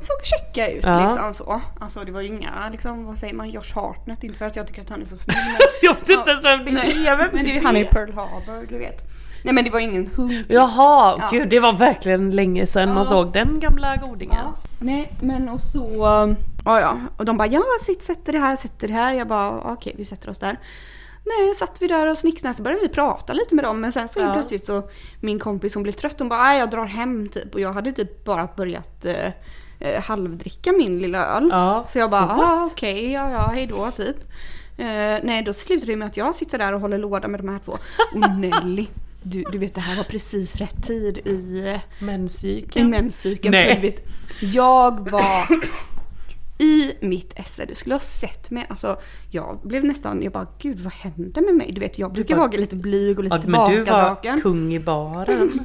Speaker 1: de såg checka ut
Speaker 2: Ja.
Speaker 1: liksom så. Alltså det var ju inga, liksom, vad säger man, Josh Hartnett. Inte för att jag tycker att han är så snygg. men-
Speaker 2: Jag vet inte ens vem det är.
Speaker 1: Nej,
Speaker 2: vem
Speaker 1: men det är ju han i Pearl Harbor, du vet. Nej men det var ju ingen hunk.
Speaker 2: Jaha,
Speaker 1: Ja.
Speaker 2: gud det var verkligen länge sedan man
Speaker 1: Ja.
Speaker 2: såg den gamla godingen.
Speaker 1: Nej men och så... Ja ja, och de bara ja sitt sätter det här, sätter det här. Jag bara okej vi sätter oss där. Nej, satt vi där och snicksnackade så började vi prata lite med dem men sen så helt
Speaker 2: Ja.
Speaker 1: plötsligt så min kompis hon blev trött hon bara "Nej, jag drar hem typ och jag hade typ bara börjat eh, eh, halvdricka min lilla öl.
Speaker 2: Ja.
Speaker 1: Så jag bara ah, okej, ja ja hejdå typ. Eh, nej då slutar det med att jag sitter där och håller låda med de här två. Och Nelly, du, du vet det här var precis rätt tid i eh, i
Speaker 2: Menscykeln.
Speaker 1: menscykeln
Speaker 2: Nej.
Speaker 1: plötsligt. Jag var i mitt esse. Du skulle ha sett mig. Alltså, jag blev nästan, jag bara gud vad hände med mig? Du vet jag brukar
Speaker 2: var-
Speaker 1: vara lite blyg och lite
Speaker 2: Ja, men du
Speaker 1: tillbakadragen.
Speaker 2: var kung i
Speaker 1: Mm.
Speaker 2: baren.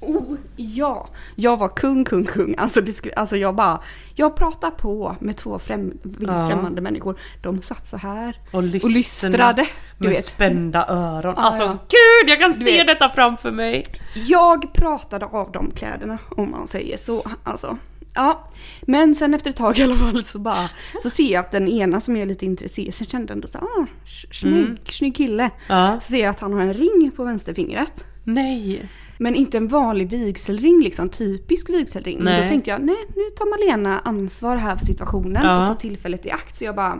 Speaker 1: Oh ja! Jag var kung, kung, kung. Alltså, det skulle, alltså jag bara, jag pratar på med två främ, vilt
Speaker 2: Ja.
Speaker 1: främmande människor. De satt så här
Speaker 2: Och lyssna-
Speaker 1: lystrade. Du
Speaker 2: Med
Speaker 1: vet.
Speaker 2: spända öron.
Speaker 1: Ja,
Speaker 2: alltså
Speaker 1: ja.
Speaker 2: gud jag kan se
Speaker 1: vet.
Speaker 2: detta framför mig.
Speaker 1: Jag pratade av de kläderna om man säger så. Alltså, Ja, men sen efter ett tag i alla fall så bara så ser jag att den ena som jag är lite intresserad så kände ändå så här, ah, sch- snygg, snygg kille.
Speaker 2: Mm. Ja.
Speaker 1: Så ser jag att han har en ring på vänsterfingret.
Speaker 2: Nej.
Speaker 1: Men inte en vanlig vigselring, liksom typisk vigselring. Men då
Speaker 2: Nej.
Speaker 1: tänkte jag, nej nu tar Malena ansvar här för situationen
Speaker 2: Ja.
Speaker 1: och tar tillfället i akt. Så jag bara,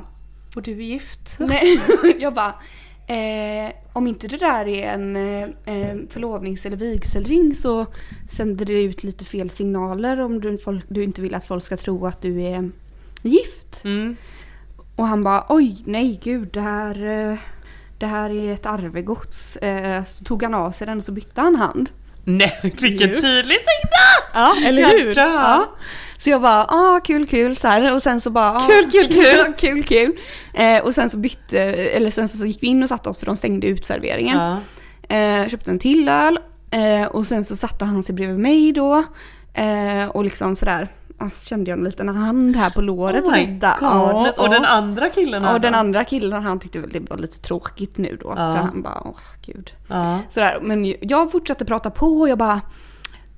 Speaker 2: Och du är gift?
Speaker 1: nej. jag bara, eh, om inte det där är en eh, förlovnings eller vigselring så sänder det ut lite fel signaler om du, folk, du inte vill att folk ska tro att du är gift.
Speaker 2: Mm.
Speaker 1: Och han bara oj nej gud det här, eh, det här är ett arvegods. Eh, Så tog han av sig den och så bytte han hand.
Speaker 2: Nej, vilken
Speaker 1: Jo.
Speaker 2: tydlig signal!
Speaker 1: Ja eller
Speaker 2: hur?
Speaker 1: Ja. Så jag bara ah kul kul så här och sen så bara ah,
Speaker 2: Kul, kul, kul.
Speaker 1: ja, kul kul. Eh, Och sen så bytte, eller sen så gick vi in och satte oss för de stängde utserveringen.
Speaker 2: Ja.
Speaker 1: Eh, köpte en till öl eh, och sen så satte han sig bredvid mig då. Eh, och liksom sådär, ah, så kände jag en liten hand här på låret.
Speaker 2: Oh
Speaker 1: och
Speaker 2: my
Speaker 1: detta.
Speaker 2: god.
Speaker 1: Ja,
Speaker 2: och
Speaker 1: ja.
Speaker 2: den andra killen
Speaker 1: Ja,
Speaker 2: här
Speaker 1: och den
Speaker 2: då?
Speaker 1: andra killen han tyckte väl det var lite tråkigt nu då.
Speaker 2: Ja.
Speaker 1: Så han bara, åh gud.
Speaker 2: Ja.
Speaker 1: Sådär, men ju- jag fortsatte prata på och jag bara,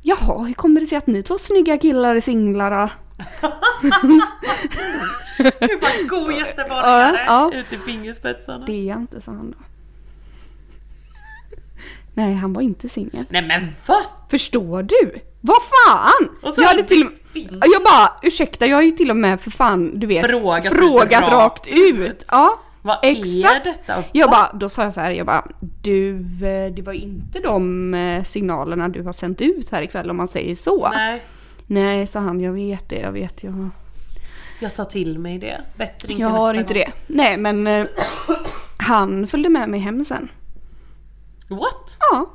Speaker 1: jaha hur kommer det sig att ni två snygga killar är singlar då?
Speaker 2: Du bara god
Speaker 1: Ja,
Speaker 2: jätteborgare
Speaker 1: ja.
Speaker 2: ut i fingerspetsarna.
Speaker 1: Det är jag inte, sa han då. Nej, han var inte singel.
Speaker 2: Nej men va?
Speaker 1: Förstår du? Vad fan!
Speaker 2: Och så
Speaker 1: jag
Speaker 2: hade
Speaker 1: hade till och
Speaker 2: du fel.
Speaker 1: med, Jag bara, ursäkta jag har ju till och med för fan, du vet,
Speaker 2: Frågat
Speaker 1: frågat
Speaker 2: rakt
Speaker 1: rakt ut. Ja.
Speaker 2: Vad
Speaker 1: Exakt.
Speaker 2: är detta?
Speaker 1: Jag bara, då sa jag så här, jag bara, du, eh, det var inte de eh, signalerna du har sänt ut här ikväll om man säger så.
Speaker 2: Nej,
Speaker 1: Nej, sa han, jag vet det, jag vet, jag,
Speaker 2: jag tar till mig det. Bättre inte
Speaker 1: jag
Speaker 2: nästa
Speaker 1: har inte
Speaker 2: gång.
Speaker 1: det. Nej, men eh, han följde med mig hem sen.
Speaker 2: What?
Speaker 1: Ja,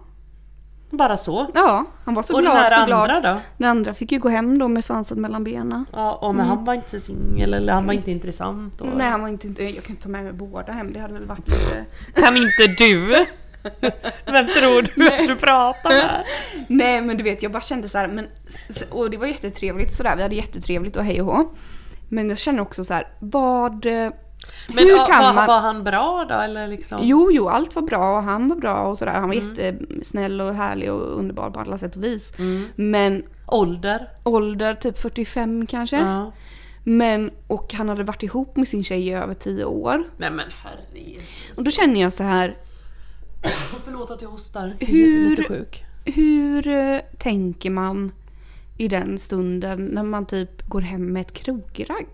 Speaker 2: Bara så?
Speaker 1: ja, han var så
Speaker 2: och den
Speaker 1: glad,
Speaker 2: här
Speaker 1: så
Speaker 2: andra
Speaker 1: glad.
Speaker 2: då?
Speaker 1: Den andra fick ju gå hem då med svansen mellan benen.
Speaker 2: Ja, och men han var inte singel eller han var inte intressant? Och...
Speaker 1: Mm. Nej, han var inte, inte, jag kan inte ta med mig båda hem, det hade väl varit lite...
Speaker 2: Kan inte du? Vem tror du att du pratar med?
Speaker 1: Nej men du vet jag bara kände så här, men, s- och det var jättetrevligt sådär, vi hade jättetrevligt och hej och hå. Men jag känner också så här, vad... eh,
Speaker 2: Men
Speaker 1: hur
Speaker 2: ja,
Speaker 1: kan
Speaker 2: var,
Speaker 1: man...
Speaker 2: var han bra då eller liksom?
Speaker 1: Jo, jo, allt var bra och han var bra och sådär. Han var
Speaker 2: Mm.
Speaker 1: jättesnäll och härlig och underbar på alla sätt och vis.
Speaker 2: Mm.
Speaker 1: Men
Speaker 2: Ålder?
Speaker 1: ålder, typ 45 kanske.
Speaker 2: Ja.
Speaker 1: Men, och han hade varit ihop med sin tjej i över 10 år.
Speaker 2: Nej men herregud.
Speaker 1: Och då känner jag så här,
Speaker 2: Förlåt att jag hostar.
Speaker 1: Hur-
Speaker 2: Lite sjuk.
Speaker 1: hur eh, tänker man i den stunden när man typ går hem med ett krogragg?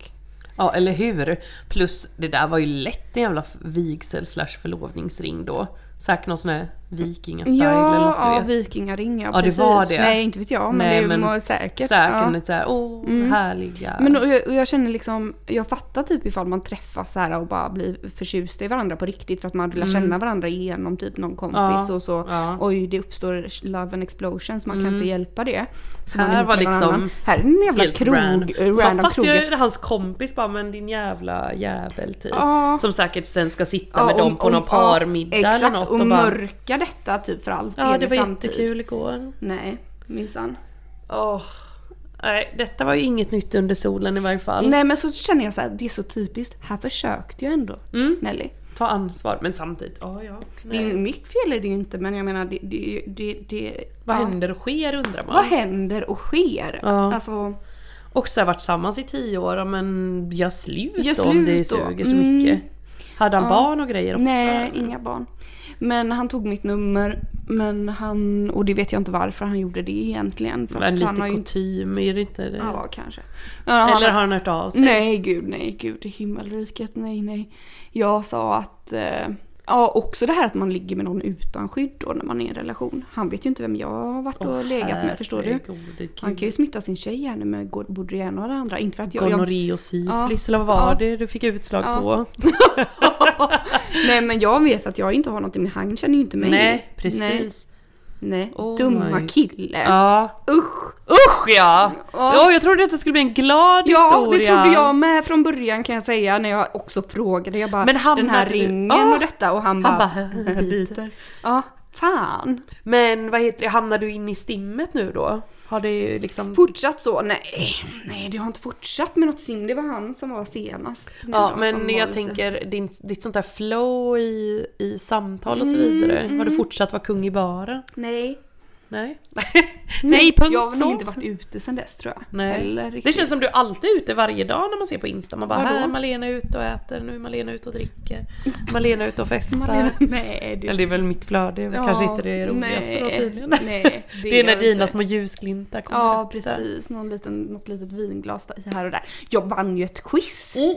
Speaker 2: Ja eller hur? Plus det där var ju lätt en jävla vigsel slash förlovningsring då. Säkert någon sån här vikingastyle eller något du
Speaker 1: ja,
Speaker 2: vet.
Speaker 1: vikingaring ja,
Speaker 2: Ja, det
Speaker 1: precis.
Speaker 2: var det.
Speaker 1: Nej inte vet jag men
Speaker 2: Nej,
Speaker 1: det är
Speaker 2: men
Speaker 1: må- säkert.
Speaker 2: Säkert
Speaker 1: ja. Mm.
Speaker 2: lite såhär, åh härliga.
Speaker 1: Men och jag, och jag känner liksom, jag fattar typ ifall man träffas så här och bara blir förtjusta i varandra på riktigt för att man vill lära känna varandra genom typ någon kompis
Speaker 2: Mm. Ja,
Speaker 1: och så.
Speaker 2: ja. Mm.
Speaker 1: Oj det uppstår love and explosions, man kan inte hjälpa det. Så man
Speaker 2: Här
Speaker 1: är ihop
Speaker 2: var
Speaker 1: med någon
Speaker 2: liksom
Speaker 1: annan. Här är en jävla krog,
Speaker 2: random.
Speaker 1: random,
Speaker 2: Man
Speaker 1: random
Speaker 2: fattar
Speaker 1: krog.
Speaker 2: ju hans kompis bara men din jävla jävel typ.
Speaker 1: Ja.
Speaker 2: Som säkert sen ska sitta
Speaker 1: Ja,
Speaker 2: med dem
Speaker 1: och-
Speaker 2: på
Speaker 1: och-
Speaker 2: någon
Speaker 1: ja,
Speaker 2: parmiddag eller
Speaker 1: Exakt,
Speaker 2: något.
Speaker 1: och,
Speaker 2: bara,
Speaker 1: mörka detta typ för all
Speaker 2: Ja det
Speaker 1: evig
Speaker 2: var
Speaker 1: framtid.
Speaker 2: jättekul igår.
Speaker 1: Nej, minsann.
Speaker 2: Åh. Nej detta var ju inget nytt under solen i varje fall.
Speaker 1: Nej men så känner jag så här, det är så typiskt. Här försökte jag ändå Nelly.
Speaker 2: Ta ansvar men samtidigt, ja ja.
Speaker 1: Det är ju
Speaker 2: Mm. Nej.
Speaker 1: mitt fel är det ju inte men jag menar det... det, det, det
Speaker 2: Vad
Speaker 1: ja.
Speaker 2: händer och sker undrar man.
Speaker 1: Vad händer och sker?
Speaker 2: Ja.
Speaker 1: Alltså,
Speaker 2: Och så har jag varit tillsammans i tio år, ja, men gör slut,
Speaker 1: Gör
Speaker 2: då, om det
Speaker 1: slut då.
Speaker 2: suger så
Speaker 1: Mm.
Speaker 2: mycket. Hade han barn och grejer också?
Speaker 1: nej, inga barn. Men han tog mitt nummer. Men han, och det vet jag inte varför han gjorde det egentligen. För
Speaker 2: Men
Speaker 1: att han
Speaker 2: lite
Speaker 1: ju inte...
Speaker 2: kutym, är det inte det?
Speaker 1: Ja, kanske. Ja,
Speaker 2: Eller har han hört av sig?
Speaker 1: Nej, gud, nej, gud i himmelriket, nej, nej. Jag sa att... Eh, ja, också det här att man ligger med någon utan skydd då när man är i en relation. Han vet ju inte vem jag har varit och legat med, förstår du? Han kan ju smitta sin tjej här nu med god- både det ena och det andra. Inte för att jag... jag
Speaker 2: Gonorré och syfilis
Speaker 1: Ja.
Speaker 2: eller vad var
Speaker 1: Ja.
Speaker 2: det du fick utslag
Speaker 1: Ja.
Speaker 2: på?
Speaker 1: Nej men jag vet att jag inte har någonting med han känner ju inte mig.
Speaker 2: Nej, precis.
Speaker 1: Nej, nej.
Speaker 2: Oh
Speaker 1: dumma
Speaker 2: my-
Speaker 1: kille.
Speaker 2: Ja.
Speaker 1: Usch!
Speaker 2: Usch ja!
Speaker 1: Äh. Ja.
Speaker 2: Ja, jag trodde att det skulle bli en glad
Speaker 1: Ja,
Speaker 2: historia.
Speaker 1: det trodde jag med från början kan jag säga när jag också frågade. Jag bara,
Speaker 2: Men hamnade
Speaker 1: den här
Speaker 2: du-
Speaker 1: ringen
Speaker 2: Ja.
Speaker 1: och detta och han,
Speaker 2: Han bara,
Speaker 1: bara
Speaker 2: biter.
Speaker 1: Ja, fan.
Speaker 2: Men vad heter det, hamnar du in i stimmet nu då? Har det liksom...
Speaker 1: Fortsatt så? Nej, nej det har inte fortsatt med något sim. Det var han som var senast. nu
Speaker 2: Ja,
Speaker 1: då, som
Speaker 2: men
Speaker 1: var
Speaker 2: jag
Speaker 1: lite-
Speaker 2: tänker din, ditt sånt där
Speaker 1: Mm,
Speaker 2: flow i, i samtal och så vidare. Har du fortsatt vara kung i baren?
Speaker 1: Nej.
Speaker 2: Nej. Nej, punkt
Speaker 1: Jag har väl
Speaker 2: så.
Speaker 1: nog inte varit ute sen dess tror jag.
Speaker 2: Nej.
Speaker 1: Eller
Speaker 2: Det
Speaker 1: riktigt.
Speaker 2: känns som du alltid är ute varje dag när man ser på Insta. Man bara,
Speaker 1: Vadå?
Speaker 2: här är Malena ute och äter, nu är Malena ute och dricker. Malena ute och festar.
Speaker 1: Malena, nej, det
Speaker 2: Eller det är väl mitt flöde, det är
Speaker 1: Ja,
Speaker 2: kanske inte det roligaste då
Speaker 1: nej,
Speaker 2: tydligen.
Speaker 1: nej, det
Speaker 2: det, är när
Speaker 1: gör
Speaker 2: dina
Speaker 1: inte.
Speaker 2: små ljusglimtar kommer
Speaker 1: Ja
Speaker 2: upp där.
Speaker 1: precis, Någon liten, något litet vinglas där- här och där. Jag vann ju ett quiz!
Speaker 2: Mm.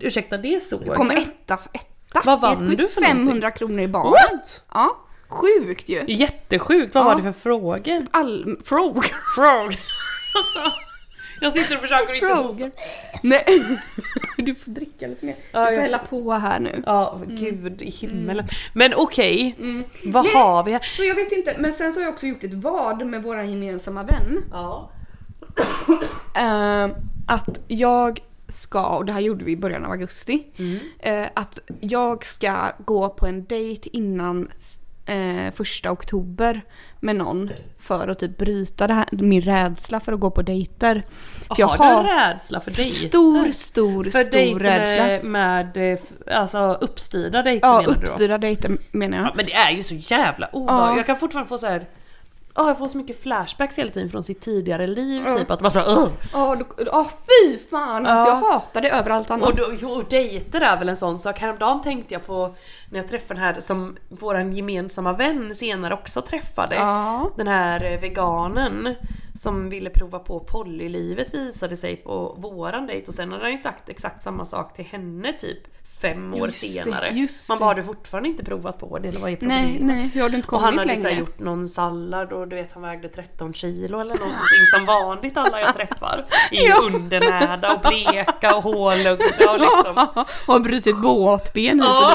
Speaker 2: Ursäkta, det såg
Speaker 1: Jag kom etta, etta
Speaker 2: Vad
Speaker 1: i ett
Speaker 2: vann
Speaker 1: quiz.
Speaker 2: du för
Speaker 1: 500
Speaker 2: någonting?
Speaker 1: kronor i barn.
Speaker 2: What?
Speaker 1: Ja, sjukt ju!
Speaker 2: Jättesjukt, vad
Speaker 1: Ja.
Speaker 2: var det för frågor?
Speaker 1: All... Frågor!
Speaker 2: Frog. alltså, jag sitter och försöker inte hosta.
Speaker 1: Frågor. Nej. Du får dricka lite mer.
Speaker 2: Ja,
Speaker 1: du får
Speaker 2: jag-
Speaker 1: hälla på här nu.
Speaker 2: Ja, gud i himmelen. Men okej,
Speaker 1: Mm.
Speaker 2: vad
Speaker 1: Nej.
Speaker 2: har vi här?
Speaker 1: Så jag vet inte, men sen så har jag också gjort ett vad med våran gemensamma vän.
Speaker 2: Ja.
Speaker 1: Eh, att jag ska, och det här gjorde vi i början av augusti,
Speaker 2: Mm.
Speaker 1: eh, att jag ska gå på en dejt innan eh, första oktober med någon för att typ bryta det här, min rädsla för att gå på dejter. För
Speaker 2: Har du en rädsla för dejter?
Speaker 1: stor, stor,
Speaker 2: för
Speaker 1: stor rädsla.
Speaker 2: med, med eh, f- alltså, uppstyrda dejter
Speaker 1: Ja,
Speaker 2: menar du då?
Speaker 1: uppstyrda dejter menar jag.
Speaker 2: Ja, men det är ju så jävla
Speaker 1: Ja.
Speaker 2: obehagligt. Jag kan fortfarande få så här. Ja, jag får så mycket flashbacks hela tiden från sitt tidigare liv. Typ att man så här, "Ugh."
Speaker 1: Ja, då- ja, fy fan
Speaker 2: Ja.
Speaker 1: alltså jag hatar det över allt annat.
Speaker 2: Och, då, jo, och dejter är väl en sån sak. Häromdagen tänkte jag på när jag träffade den här som våran gemensamma vän senare också träffade.
Speaker 1: Ja.
Speaker 2: Den här eh, veganen som ville prova på polylivet visade sig på våran dejt och sen hade han ju sagt exakt samma sak till henne typ fem år
Speaker 1: Just det,
Speaker 2: senare.
Speaker 1: just
Speaker 2: Man bara har
Speaker 1: det.
Speaker 2: du fortfarande inte provat på det eller vad är problemet?
Speaker 1: nej, nej, hur har du inte
Speaker 2: Och han
Speaker 1: kommit
Speaker 2: hade så här
Speaker 1: längre?
Speaker 2: gjort någon sallad och du vet han vägde 13 kilo eller någonting som vanligt alla jag träffar. Är ju
Speaker 1: Ja.
Speaker 2: undernärda och bleka och hålögda och liksom.
Speaker 1: Har brutit båtben hit och
Speaker 2: Ja.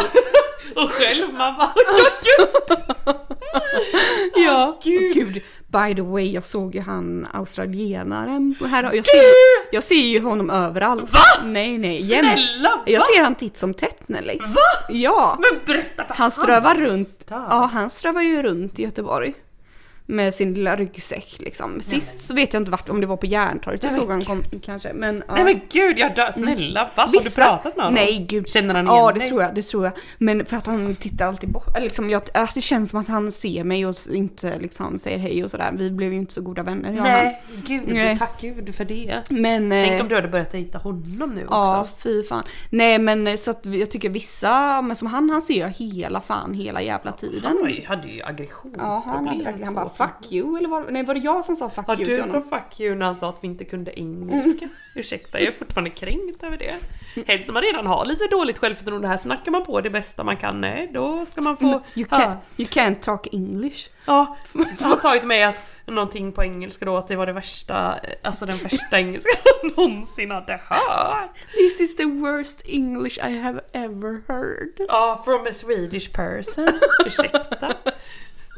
Speaker 2: Och själv man bara ja just det!
Speaker 1: Ja,
Speaker 2: gud.
Speaker 1: gud. gud. By the way, jag såg ju han australienaren på- här. Jag ser, jag ser ju honom överallt.
Speaker 2: Va?
Speaker 1: Nej, nej. jämt.
Speaker 2: Snälla va?
Speaker 1: Jag ser han titt som tätt Nelly.
Speaker 2: Va?
Speaker 1: Ja,
Speaker 2: Men berätta för
Speaker 1: han strövar runt.
Speaker 2: stör.
Speaker 1: Ja, han strövar ju runt i Göteborg. Med sin lilla ryggsäck liksom. Sist så vet jag inte vart, om det var på Järntorget jag såg han kom, kanske. Men, ja.
Speaker 2: Nej men gud jag dör, snälla va? Har du
Speaker 1: Vissa-
Speaker 2: pratat med honom?
Speaker 1: Nej gud.
Speaker 2: Känner han igen
Speaker 1: Ja det
Speaker 2: dig?
Speaker 1: tror jag, det tror jag. Men för att han tittar alltid bort. eller Liksom, jag, alltså, det känns som att han ser mig och s- inte liksom säger hej och sådär. Vi blev ju inte så goda vänner jag och
Speaker 2: Nej gud,
Speaker 1: Nej.
Speaker 2: tack gud för det.
Speaker 1: han. Men...
Speaker 2: Tänk
Speaker 1: eh,
Speaker 2: om du hade börjat dejta honom nu
Speaker 1: Ja,
Speaker 2: också.
Speaker 1: fy fan. Nej men eh, så att vi- jag tycker vissa, men som han, han ser jag hela fan hela jävla tiden.
Speaker 2: Han var ju- hade ju
Speaker 1: Ja, han, hade
Speaker 2: aggressionsproblem.
Speaker 1: verkligen- han
Speaker 2: två
Speaker 1: bara 'fuck you' eller var, nej, var det jag som sa 'fuck
Speaker 2: Ja,
Speaker 1: you' till
Speaker 2: du
Speaker 1: honom?
Speaker 2: sa fuck you när han sa att vi inte kunde engelska.
Speaker 1: Mm.
Speaker 2: Ursäkta, jag är fortfarande kränkt över det. Helst när man redan har lite dåligt självförtroende här snackar man på det bästa man kan. Nej, då ska man få...
Speaker 1: Mm, You,
Speaker 2: Ja,
Speaker 1: can, you can't talk English.
Speaker 2: ja, han sa ju till mig att någonting på engelska då, att det var det värsta, alltså den värsta engelska jag någonsin hade hört.
Speaker 1: This is the worst English I have ever heard.
Speaker 2: Ja, from a Swedish person. Ursäkta.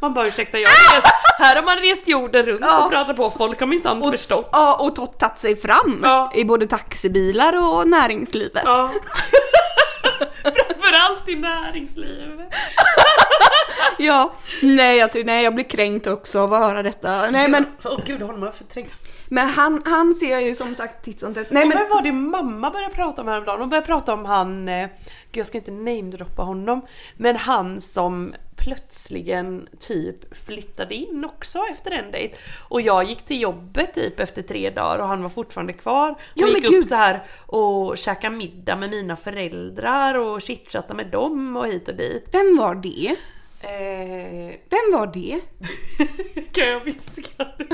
Speaker 2: Man bara ursäkta, jag har rest, här har man rest jorden runt
Speaker 1: Ah! Ja.
Speaker 2: och pratat på, folk har minsann förstått.
Speaker 1: Ja, och tå- tagit sig fram
Speaker 2: Ja.
Speaker 1: i både taxibilar och näringslivet.
Speaker 2: Ja. Framförallt i näringslivet.
Speaker 1: Ja. Nej, jag, ty- nej, jag blir kränkt också av att höra detta. Nej, men,
Speaker 2: Åh oh, gud, honom har jag förträngt.
Speaker 1: men han, han ser jag ju som sagt titt som tätt. Nej,
Speaker 2: Men
Speaker 1: men
Speaker 2: vad var det mamma började prata om häromdagen? Hon började prata om han, eh, gud jag ska inte namedroppa honom, men han som plötsligen typ flyttade in också efter en dejt. Och jag gick till jobbet typ efter tre dagar och han var fortfarande kvar. Och
Speaker 1: Ja, men
Speaker 2: gick upp
Speaker 1: gud.
Speaker 2: så här och käkade middag med mina föräldrar och chitchattade med dem och hit och dit.
Speaker 1: Vem var det?
Speaker 2: Eh,
Speaker 1: Vem var det?
Speaker 2: kan jag viska det?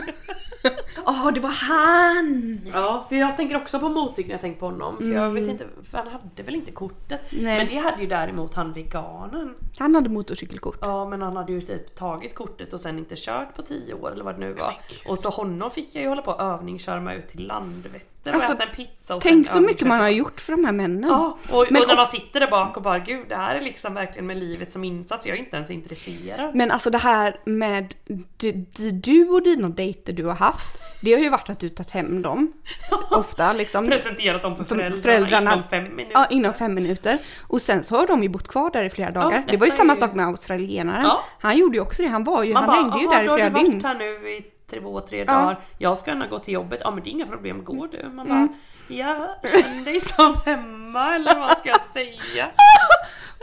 Speaker 1: Ja, det var han!
Speaker 2: Ja, för jag tänker också på Mosig när jag tänker på honom. För jag vet inte, för han hade väl inte kortet?
Speaker 1: Mm. Nej.
Speaker 2: Men det hade ju däremot han veganen.
Speaker 1: Han hade motorcykelkort.
Speaker 2: Ja, men han hade ju typ tagit kortet och sen inte kört på 10 år eller vad det nu var. Och så honom fick jag ju hålla på och övningsköra mig ut till Landvetter och
Speaker 1: Alltså,
Speaker 2: äta en pizza och
Speaker 1: Tänk
Speaker 2: sen
Speaker 1: så mycket
Speaker 2: övningsköra.
Speaker 1: man har gjort för de här männen.
Speaker 2: Ja, och,
Speaker 1: Men-
Speaker 2: och när man sitter där bak och bara gud det här är liksom verkligen med livet som insats, jag är inte ens intresserad.
Speaker 1: Men alltså det här med du, du- du och dina dejter du har haft, det har ju varit att du tagit hem dem. Ofta liksom.
Speaker 2: Presenterat dem för
Speaker 1: För
Speaker 2: föräldrarna,
Speaker 1: föräldrarna-
Speaker 2: inom fem minuter.
Speaker 1: Ja, inom fem minuter. Och sen så har de ju bott kvar där i flera dagar. det var ju
Speaker 2: detta
Speaker 1: samma
Speaker 2: är ju-
Speaker 1: sak med australienaren.
Speaker 2: Ja.
Speaker 1: Han gjorde ju också det. Han var ju,
Speaker 2: Man
Speaker 1: han
Speaker 2: bara,
Speaker 1: hängde ju
Speaker 2: "Aha,
Speaker 1: där
Speaker 2: då
Speaker 1: i flera
Speaker 2: har du
Speaker 1: dygn.
Speaker 2: varit här nu i två, tre
Speaker 1: Ja. Mm.
Speaker 2: dagar. Jag ska gärna gå till jobbet. Ja men det är inga problem, går du? Man bara, ja, känn dig som hemma eller vad ska jag säga?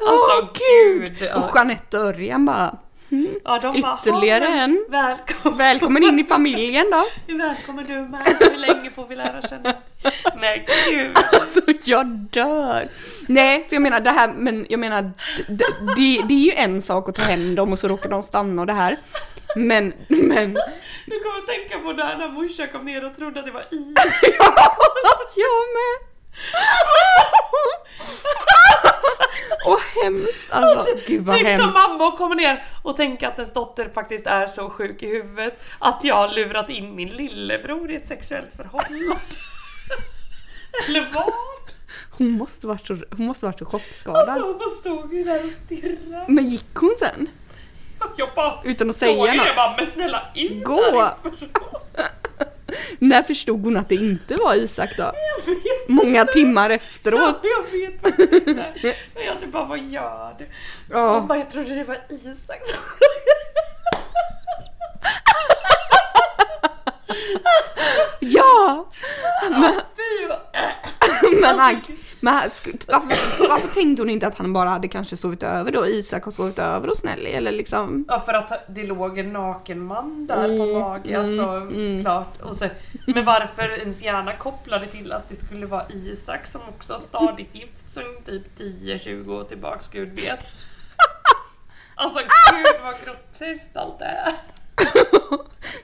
Speaker 2: Alltså
Speaker 1: Åh,
Speaker 2: gud!
Speaker 1: Och Jeanette och Örjan bara
Speaker 2: Ja, de
Speaker 1: Ytterligare
Speaker 2: bara, "Ha,
Speaker 1: en."
Speaker 2: Välkommen.
Speaker 1: Välkommen in i familjen då.
Speaker 2: Välkommen du med. Hur länge får vi lära känna? Nej, gud.
Speaker 1: Alltså jag dör. Nej, så jag menar det här, men jag menar d- d- det, det är ju en sak att ta hem dem och så råkar de stanna och det här. Men, men,
Speaker 2: Du kommer att tänka på det här när morsan kom ner och trodde att det var i.
Speaker 1: jag med. Åh hemskt alltså. Gud vad
Speaker 2: Tänk som
Speaker 1: hemskt.
Speaker 2: mamma och kommer ner och tänker att ens dotter faktiskt är så sjuk i huvudet att jag har lurat in min lillebror i ett sexuellt förhållande. Eller vad?
Speaker 1: Hon måste varit så, hon måste varit så chockskadad.
Speaker 2: Alltså hon bara stod ju där och stirrade.
Speaker 1: Men gick hon sen?
Speaker 2: Jag bara
Speaker 1: Utan att
Speaker 2: såg
Speaker 1: säga
Speaker 2: ju det
Speaker 1: något?
Speaker 2: bara, men snälla ut
Speaker 1: Gå!
Speaker 2: härifrån."
Speaker 1: När förstod hon att det inte var Isak då? Många timmar efteråt.
Speaker 2: Jag vet faktiskt inte. Men jag typ bara, vad gör du?
Speaker 1: Ja.
Speaker 2: Hon bara, jag trodde det var Isak som...
Speaker 1: Ja!
Speaker 2: Fy, vad-
Speaker 1: Men, han, men han, sku- varför, varför tänkte hon inte att han bara hade kanske sovit över då? Isak har sovit över hos Nelly eller liksom?
Speaker 2: Ja för att det låg en naken man där på magen. Alltså, klart. Och så, men varför ens hjärna kopplade till att det skulle vara Isak som också har stadigt gift som typ 10-20 år tillbaks, gud vet. Alltså gud vad groteskt allt det är.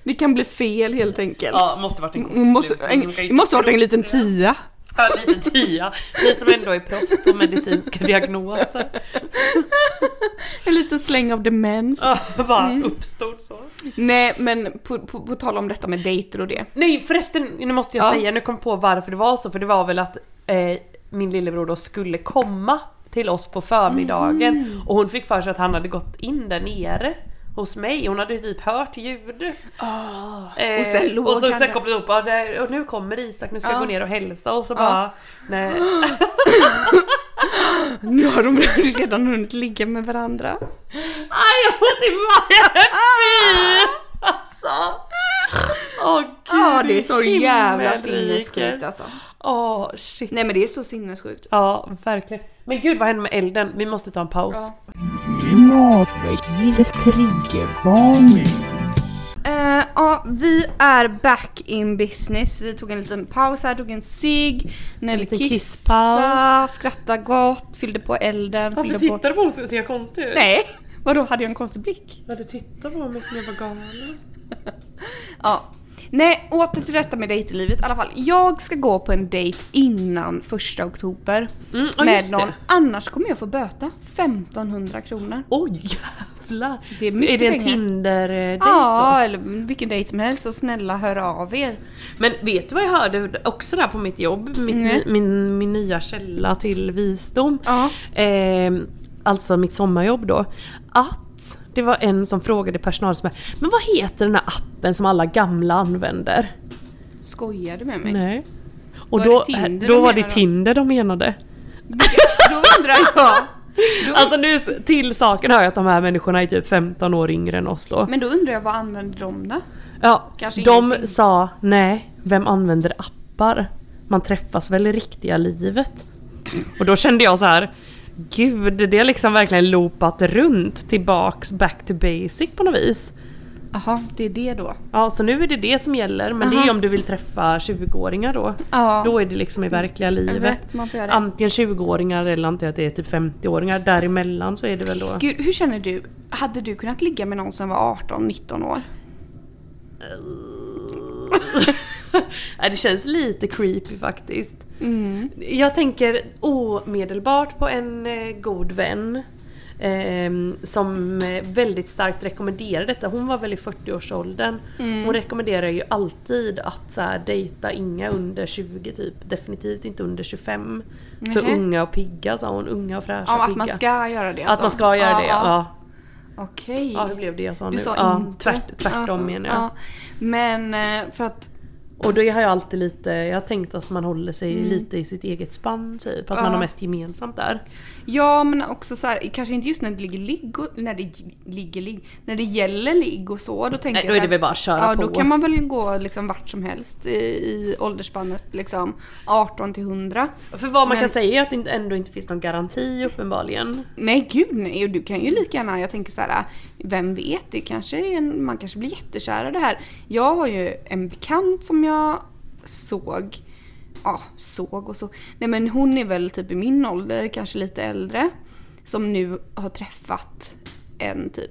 Speaker 1: Det kan bli fel helt enkelt.
Speaker 2: Ja, måste varit en
Speaker 1: Hon Mm, måste, en, det måste ha varit en liten tia.
Speaker 2: Ja, en liten tia. Ni som ändå är proffs på medicinska diagnoser.
Speaker 1: En liten släng av demens.
Speaker 2: Ja, bara
Speaker 1: Mm.
Speaker 2: uppstod så.
Speaker 1: Nej men på, på, på tal om detta med dejter och det.
Speaker 2: Nej förresten, nu måste jag
Speaker 1: Ja.
Speaker 2: säga, nu kom jag på varför det var så, för det var väl att eh, min lillebror då skulle komma till oss på förmiddagen
Speaker 1: Mhm.
Speaker 2: och hon fick för sig att han hade gått in där nere hos mig, hon hade ju typ hört ljud. Eh,
Speaker 1: och sen låg
Speaker 2: och så
Speaker 1: han
Speaker 2: sen
Speaker 1: där.
Speaker 2: kom det upp, "Ja, där- och nu kommer Isak, nu ska jag
Speaker 1: Ja.
Speaker 2: gå ner och hälsa och så bara nej.
Speaker 1: Nu har de redan hunnit ligga med varandra.
Speaker 2: Aj jag får ont i magen! Fy! Alltså! Åh gud!
Speaker 1: Ja det är så jävla
Speaker 2: himmelriket.
Speaker 1: sinnessjukt alltså.
Speaker 2: Åh shit.
Speaker 1: Nej men det är så sinnessjukt.
Speaker 2: Ja, verkligen. Men gud vad hände med elden? Vi måste ta en paus.
Speaker 5: Klimatväckande triggervarning.
Speaker 1: Eh, ja, vi är back in business. Vi tog en liten paus här, tog en cigg, Nelly
Speaker 2: liten
Speaker 1: kissade,
Speaker 2: kisspaus.
Speaker 1: skrattade gott, fyllde på elden,
Speaker 2: Varför
Speaker 1: fyllde
Speaker 2: tittar du på mig så ser jag konstig ut?
Speaker 1: Nej! Vadå, hade jag en konstig blick?
Speaker 2: Ja, du tittar på mig som jag var galen.
Speaker 1: Ja. Nej, åter till detta med dejtlivet i alla fall. Jag ska gå på en dejt innan första oktober.
Speaker 2: Mm, ja,
Speaker 1: med
Speaker 2: just det.
Speaker 1: någon. Annars kommer jag få böta 1500 kronor.
Speaker 2: Oj jävlar!
Speaker 1: Det är
Speaker 2: Så
Speaker 1: mycket
Speaker 2: är det en
Speaker 1: pengar.
Speaker 2: Tinder-dejt
Speaker 1: Ja,
Speaker 2: då?
Speaker 1: eller vilken dejt som helst så snälla hör av er.
Speaker 2: Men vet du vad jag hörde också där på mitt jobb? Mitt,
Speaker 1: Nej.
Speaker 2: min, min nya källa till visdom.
Speaker 1: Ja.
Speaker 2: Ehm, alltså mitt sommarjobb då. Att det var en som frågade personal som bara, Men vad heter den här appen som alla gamla använder?
Speaker 1: Skojar du med mig?
Speaker 2: Nej. Och
Speaker 1: Var
Speaker 2: då,
Speaker 1: det Tinder
Speaker 2: då
Speaker 1: de
Speaker 2: var det
Speaker 1: menade då?
Speaker 2: Tinder de menade.
Speaker 1: Då undrar jag.
Speaker 2: Alltså nu till saken hör jag att de här människorna är typ 15 år yngre än oss då.
Speaker 1: Men då undrar jag vad använder de då?
Speaker 2: Ja,
Speaker 1: Kanske
Speaker 2: de
Speaker 1: ingenting.
Speaker 2: sa nej, vem använder appar? Man träffas väl i riktiga livet? Och då kände jag så här. Gud, det har liksom verkligen loopat runt tillbaks back to basic på något vis.
Speaker 1: Jaha, det är det då.
Speaker 2: Ja, så nu är det det som gäller. Men det är
Speaker 1: Aha.
Speaker 2: ju om du vill träffa 20-åringar då.
Speaker 1: Ja.
Speaker 2: Då är det liksom i verkliga livet.
Speaker 1: vet, man får göra det.
Speaker 2: Antingen 20-åringar eller antingen att det är typ 50-åringar. Däremellan så är det väl då...
Speaker 1: Gud, hur känner du? Hade du kunnat ligga med någon som var 18-19 år?
Speaker 2: Nej, det känns lite creepy faktiskt.
Speaker 1: Mm.
Speaker 2: Jag tänker omedelbart på en eh, god vän. ehm, som eh, väldigt starkt rekommenderar detta. Hon var väl i 40-årsåldern.
Speaker 1: Mm.
Speaker 2: Hon rekommenderar ju alltid att så här, dejta inga under 20 typ. Definitivt inte under 25. Så
Speaker 1: Mhm.
Speaker 2: unga och pigga sa hon. Unga och fräscha
Speaker 1: Ja,
Speaker 2: och
Speaker 1: att
Speaker 2: pigga.
Speaker 1: man ska alltså. göra det
Speaker 2: Att man ska göra det, ja.
Speaker 1: Okej.
Speaker 2: Ja, hur blev det jag sa
Speaker 1: Du
Speaker 2: nu?
Speaker 1: sa
Speaker 2: ja,
Speaker 1: inte.
Speaker 2: tvärt, tvärtom
Speaker 1: Ja,
Speaker 2: menar jag.
Speaker 1: ja. Men eh, för att
Speaker 2: Och då har jag alltid lite, jag har tänkt att man håller sig lite i sitt eget spann typ. Att
Speaker 1: Ja.
Speaker 2: man har mest gemensamt där.
Speaker 1: Ja men också så här, kanske inte just när det ligger ligg och, när det gi- ligger ligg, när det gäller ligg och så då tänker
Speaker 2: Nej, då
Speaker 1: jag
Speaker 2: är det
Speaker 1: så här-
Speaker 2: väl bara att köra
Speaker 1: Ja
Speaker 2: på.
Speaker 1: då kan man väl gå liksom vart som helst i, i åldersspannet liksom 18 till 100.
Speaker 2: För vad man
Speaker 1: Men-
Speaker 2: kan säga är att det inte- ändå inte finns någon garanti uppenbarligen.
Speaker 1: Nej gud nej och du kan ju lika gärna, jag tänker så här, vem vet, det kanske är en, man kanske blir jättekär av det här. Jag har ju en bekant som jag såg, ja såg och så, nej men hon är väl typ i min ålder, kanske lite äldre, som nu har träffat en typ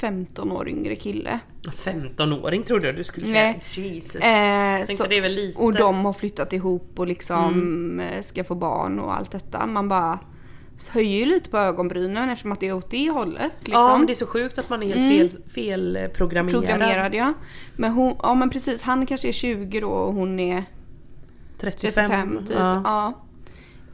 Speaker 1: 15 år yngre kille.
Speaker 2: 15-åring trodde jag du skulle säga.
Speaker 1: Nej.
Speaker 2: Jesus.
Speaker 1: Eh,
Speaker 2: tänkte det är väl lite. Mm.
Speaker 1: Och de har flyttat ihop och liksom eh, ska få barn och allt detta. Man bara höjer ju lite på ögonbrynen eftersom att det är åt det hållet. Liksom. Mm.
Speaker 2: Ja men det är så sjukt att man är helt fel, felprogrammerad.
Speaker 1: Programmerad ja. Men, hon, ja. men precis, han kanske är 20 då och hon är
Speaker 2: 35.
Speaker 1: 35 typ. Ja.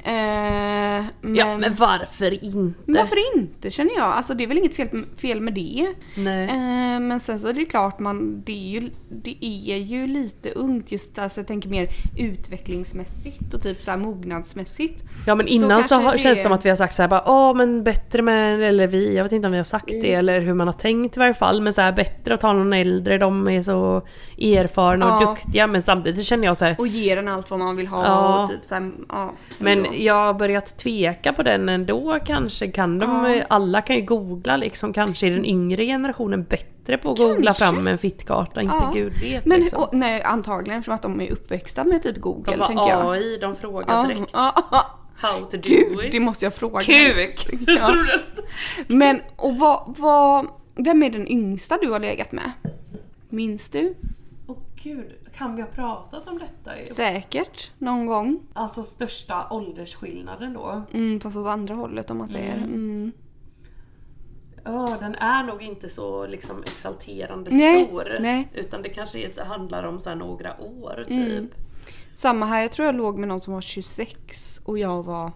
Speaker 1: Eh, men,
Speaker 2: Ja men
Speaker 1: men
Speaker 2: varför inte?
Speaker 1: varför inte känner jag? Alltså det är väl inget fel, fel med det.
Speaker 2: Nej.
Speaker 1: Eh, men sen så är det klart, man, det, är ju, det är ju lite ungt just alltså jag tänker mer utvecklingsmässigt och typ så här mognadsmässigt.
Speaker 2: Ja men
Speaker 1: Så
Speaker 2: innan så,
Speaker 1: kanske
Speaker 2: har,
Speaker 1: det-
Speaker 2: känns det som att vi har sagt så här bara åh men bättre med, eller vi, jag vet inte om vi har sagt det
Speaker 1: Mm.
Speaker 2: eller hur man har tänkt i varje fall men så här bättre att ta någon äldre, de är så erfarna och
Speaker 1: Ja.
Speaker 2: duktiga men samtidigt känner jag så här
Speaker 1: Och ger den allt vad man vill ha
Speaker 2: Ja.
Speaker 1: och typ så här, ja.
Speaker 2: men
Speaker 1: Ja.
Speaker 2: jag har börjat tveka på den ändå kanske kan de, alla kan ju googla liksom kanske är den yngre generationen bättre på att googla
Speaker 1: Kanske.
Speaker 2: fram en fittkarta, inte
Speaker 1: Ja.
Speaker 2: gud vet
Speaker 1: Men
Speaker 2: liksom.
Speaker 1: och, nej, antagligen eftersom att de är uppväxta med typ Google
Speaker 2: de
Speaker 1: tänker jag.
Speaker 2: bara AI, de frågar
Speaker 1: Ja,
Speaker 2: direkt
Speaker 1: ja, ja.
Speaker 2: how to do
Speaker 1: Gud, det
Speaker 2: it.
Speaker 1: måste jag fråga.
Speaker 2: Kuk!
Speaker 1: Ja.
Speaker 2: Tror du?
Speaker 1: Men och vad, vad, vem är den yngsta du har legat med? Minns du?
Speaker 2: Åh gud, kan vi ha pratat om detta?
Speaker 1: Säkert någon gång.
Speaker 2: Alltså största åldersskillnaden då?
Speaker 1: Mm, fast åt andra hållet om man säger. Mm.
Speaker 2: Ja, den är nog inte så liksom exalterande
Speaker 1: Nej,
Speaker 2: stor.
Speaker 1: nej. Mm.
Speaker 2: Utan det kanske inte handlar om så här några år typ.
Speaker 1: Samma här, jag tror jag låg med någon som var 26 och jag var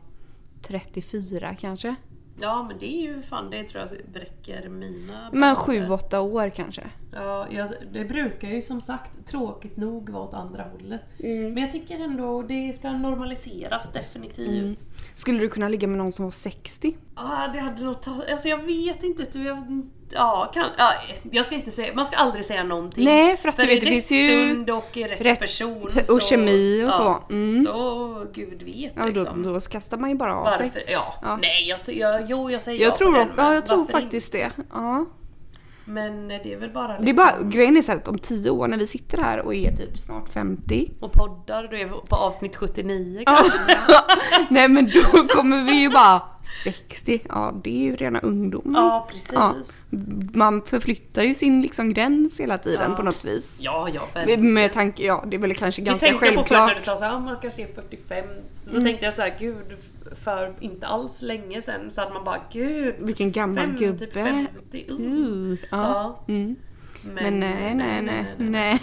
Speaker 1: 34 kanske.
Speaker 2: Ja men det är ju fan, det tror jag bräcker mina
Speaker 1: Men
Speaker 2: barn.
Speaker 1: 7-8 år kanske.
Speaker 2: Ja, jag, det brukar ju som sagt tråkigt nog vara åt andra hållet.
Speaker 1: Mm.
Speaker 2: Men jag tycker ändå det ska normaliseras definitivt.
Speaker 1: Skulle du kunna ligga med någon som var 60?
Speaker 2: Ja, det hade nog tagit... Alltså jag vet inte. Du, jag, ja, kan, ja, jag ska inte säga... Man ska aldrig säga någonting.
Speaker 1: Nej, för att du
Speaker 2: i
Speaker 1: vet, det
Speaker 2: rätt
Speaker 1: finns ju
Speaker 2: stund och i rätt,
Speaker 1: rätt-
Speaker 2: person.
Speaker 1: och kemi och så. Mm.
Speaker 2: Så gud vet
Speaker 1: Ja, då,
Speaker 2: liksom.
Speaker 1: då kastar man ju bara av sig.
Speaker 2: Varför? Ja.
Speaker 1: Ja.
Speaker 2: Nej, jag, ty- jag, jo jag säger
Speaker 1: Jag
Speaker 2: på
Speaker 1: tror,
Speaker 2: den,
Speaker 1: också-
Speaker 2: men
Speaker 1: ja, jag tror
Speaker 2: varför inte?
Speaker 1: faktiskt det. Ja.
Speaker 2: Men det är väl bara liksom,
Speaker 1: Det är bara, grejen är så här att om 10 år när vi sitter här och är typ snart 50.
Speaker 2: Och poddar, då är vi på avsnitt 79
Speaker 1: Ja.
Speaker 2: kanske.
Speaker 1: Nej men då kommer vi ju bara 60. Ja det är ju rena ungdomen.
Speaker 2: Ja, precis.
Speaker 1: Ja.
Speaker 2: Ja,
Speaker 1: Man förflyttar ju sin liksom gräns hela tiden
Speaker 2: Ja.
Speaker 1: på något vis.
Speaker 2: ja, verkligen.
Speaker 1: Med tanke, ja det är väl kanske
Speaker 2: Vi
Speaker 1: ganska
Speaker 2: tänkte jag på först när
Speaker 1: självklart. Mm.
Speaker 2: du sa att man kanske är 45. Så tänkte jag så här, gud för inte alls länge sen så hade man bara gud.
Speaker 1: Vilken gammal
Speaker 2: Fem,
Speaker 1: gubbe.
Speaker 2: typ 50. Uh.
Speaker 1: Uh, ja.
Speaker 2: Ja.
Speaker 1: Mm. Men nej nej nej. nej.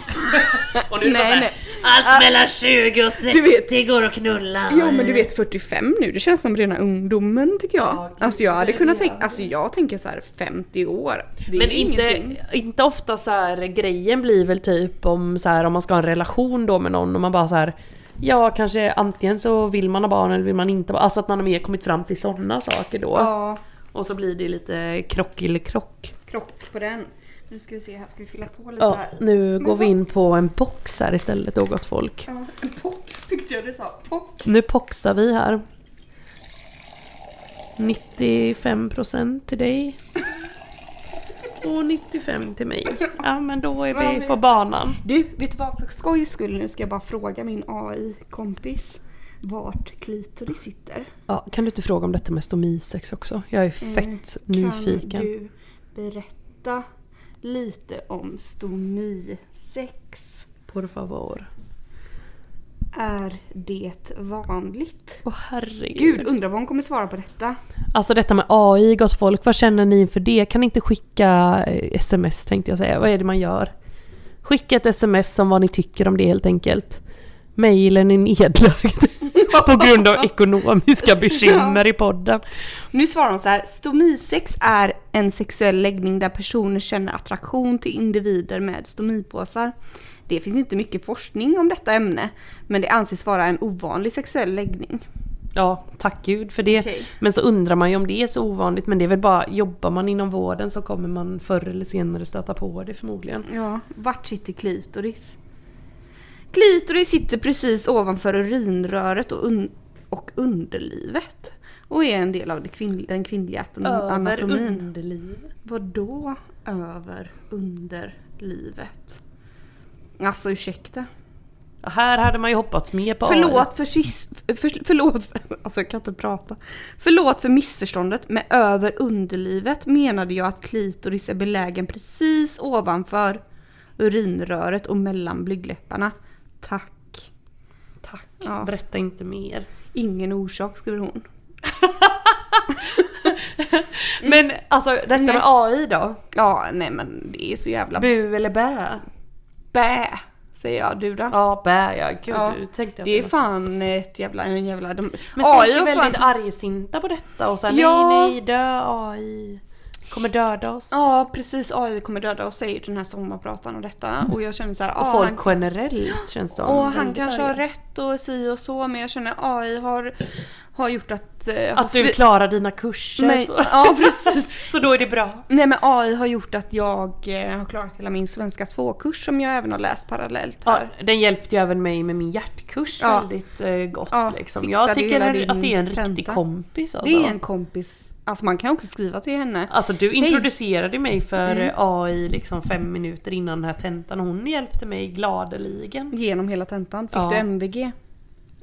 Speaker 2: Och nu är det bara
Speaker 1: Nej,
Speaker 2: så här,
Speaker 1: nej.
Speaker 2: allt mellan 20 och 60 går att knulla.
Speaker 1: Ja men du vet 45 nu, det känns som rena ungdomen tycker jag.
Speaker 2: Ja, gud,
Speaker 1: alltså jag hade
Speaker 2: det
Speaker 1: kunnat
Speaker 2: gör
Speaker 1: tänka, alltså jag tänker så här 50 år. Det är
Speaker 2: Men
Speaker 1: ju
Speaker 2: inte,
Speaker 1: ingenting.
Speaker 2: inte ofta så här grejen blir väl typ om så här om man ska ha en relation då med någon och man bara så här Ja kanske antingen så vill man ha barn eller vill man inte ha- Alltså att man har mer kommit fram till sådana saker då.
Speaker 1: Ja,
Speaker 2: Och så blir det lite krock eller krock.
Speaker 1: krock på den. Nu ska vi se här, ska vi fylla på lite
Speaker 2: Ja,
Speaker 1: här?
Speaker 2: nu går
Speaker 1: vad-
Speaker 2: vi in på en box här istället då gott folk.
Speaker 1: Ja, en pox tyckte jag du sa. Pox.
Speaker 2: Nu poxar vi här. 95% till dig. Och 95 till mig. Ja men då
Speaker 1: Ja,
Speaker 2: är vi
Speaker 1: vi-
Speaker 2: på banan.
Speaker 1: Du, vet du vad? För skojs skull nu ska jag bara fråga min AI-kompis vart klitoris sitter.
Speaker 2: Ja, kan du inte fråga om detta med stomisex också? Jag är fett nyfiken.
Speaker 1: Mm. Kan du berätta lite om stomisex?
Speaker 2: Por favor.
Speaker 1: Är det vanligt?
Speaker 2: Åh herregud.
Speaker 1: Gud, undrar vad hon kommer svara på detta.
Speaker 2: Alltså detta med AI, gott folk, vad känner ni inför det? Kan ni inte skicka eh, sms tänkte jag säga, vad är det man gör? Skicka ett sms om vad ni tycker om det helt enkelt. Mailen är nedlagd på grund av ekonomiska bekymmer i podden.
Speaker 1: Nu svarar hon så här. Stomisex är en sexuell läggning där personer känner attraktion till individer med stomipåsar. Det finns inte mycket forskning om detta ämne, men det anses vara en ovanlig sexuell läggning.
Speaker 2: Ja, tack gud för det.
Speaker 1: Okej.
Speaker 2: Men så undrar man ju om det är så ovanligt men det är väl bara, jobbar man inom vården så kommer man förr eller senare stöta på det förmodligen.
Speaker 1: Ja, vart sitter klitoris? Klitoris sitter precis ovanför urinröret och, un- och underlivet. Och är en del av det kvinn- den kvinnliga atom- anatomin.
Speaker 2: underliv.
Speaker 1: Vadå över underlivet? Alltså ursäkta.
Speaker 2: Ja, Här hade man ju hoppats mer på
Speaker 1: Förlåt för, sis, för, förlåt för Alltså jag kan inte prata. Förlåt för missförståndet. Med över underlivet menade jag att klitoris är belägen precis ovanför urinröret och mellan blygdläpparna. Tack.
Speaker 2: Tack.
Speaker 1: Ja.
Speaker 2: Berätta inte mer.
Speaker 1: Ingen orsak skriver hon. Mm.
Speaker 2: Men alltså detta med AI då?
Speaker 1: Ja, nej men det är så jävla
Speaker 2: Bu eller bä?
Speaker 1: bä. Säger jag, du då?
Speaker 2: Ja, bä ja. Gud,
Speaker 1: Ja,
Speaker 2: det tänkte jag
Speaker 1: Det är
Speaker 2: inte.
Speaker 1: fan ett jävla... En jävla de,
Speaker 2: Men folk
Speaker 1: har
Speaker 2: är
Speaker 1: fan-
Speaker 2: väldigt argsinta på detta och så här,
Speaker 1: Ja.
Speaker 2: nej nej dö AI. Kommer döda oss.
Speaker 1: Ja precis, AI kommer döda oss säger den här sommarpratan och detta. Och jag känner så här,
Speaker 2: Mm. Och
Speaker 1: ah,
Speaker 2: folk
Speaker 1: han,
Speaker 2: generellt känns det
Speaker 1: och han kanske har rätt och si och så men jag känner AI har, har gjort att... eh, har
Speaker 2: Att du
Speaker 1: skri-
Speaker 2: klarar dina kurser.
Speaker 1: Nej,
Speaker 2: så.
Speaker 1: ja precis.
Speaker 2: så då är det bra.
Speaker 1: Nej men AI har gjort att jag eh, har klarat hela min svenska 2-kurs som jag även har läst parallellt
Speaker 2: Ja,
Speaker 1: här.
Speaker 2: den hjälpte ju även mig med min hjärtkurs
Speaker 1: Ja.
Speaker 2: väldigt eh, gott.
Speaker 1: Ja,
Speaker 2: liksom.
Speaker 1: fixade
Speaker 2: Jag
Speaker 1: hela
Speaker 2: tycker
Speaker 1: din
Speaker 2: att det är en riktig
Speaker 1: tenta.
Speaker 2: kompis.
Speaker 1: Det
Speaker 2: Alltså.
Speaker 1: är en kompis, alltså man kan också skriva till henne.
Speaker 2: Alltså du introducerade mig för
Speaker 1: Mm.
Speaker 2: eh, AI liksom fem minuter innan den här tentan och hon hjälpte mig gladeligen.
Speaker 1: Genom hela tentan. Fick
Speaker 2: Ja.
Speaker 1: du MVG?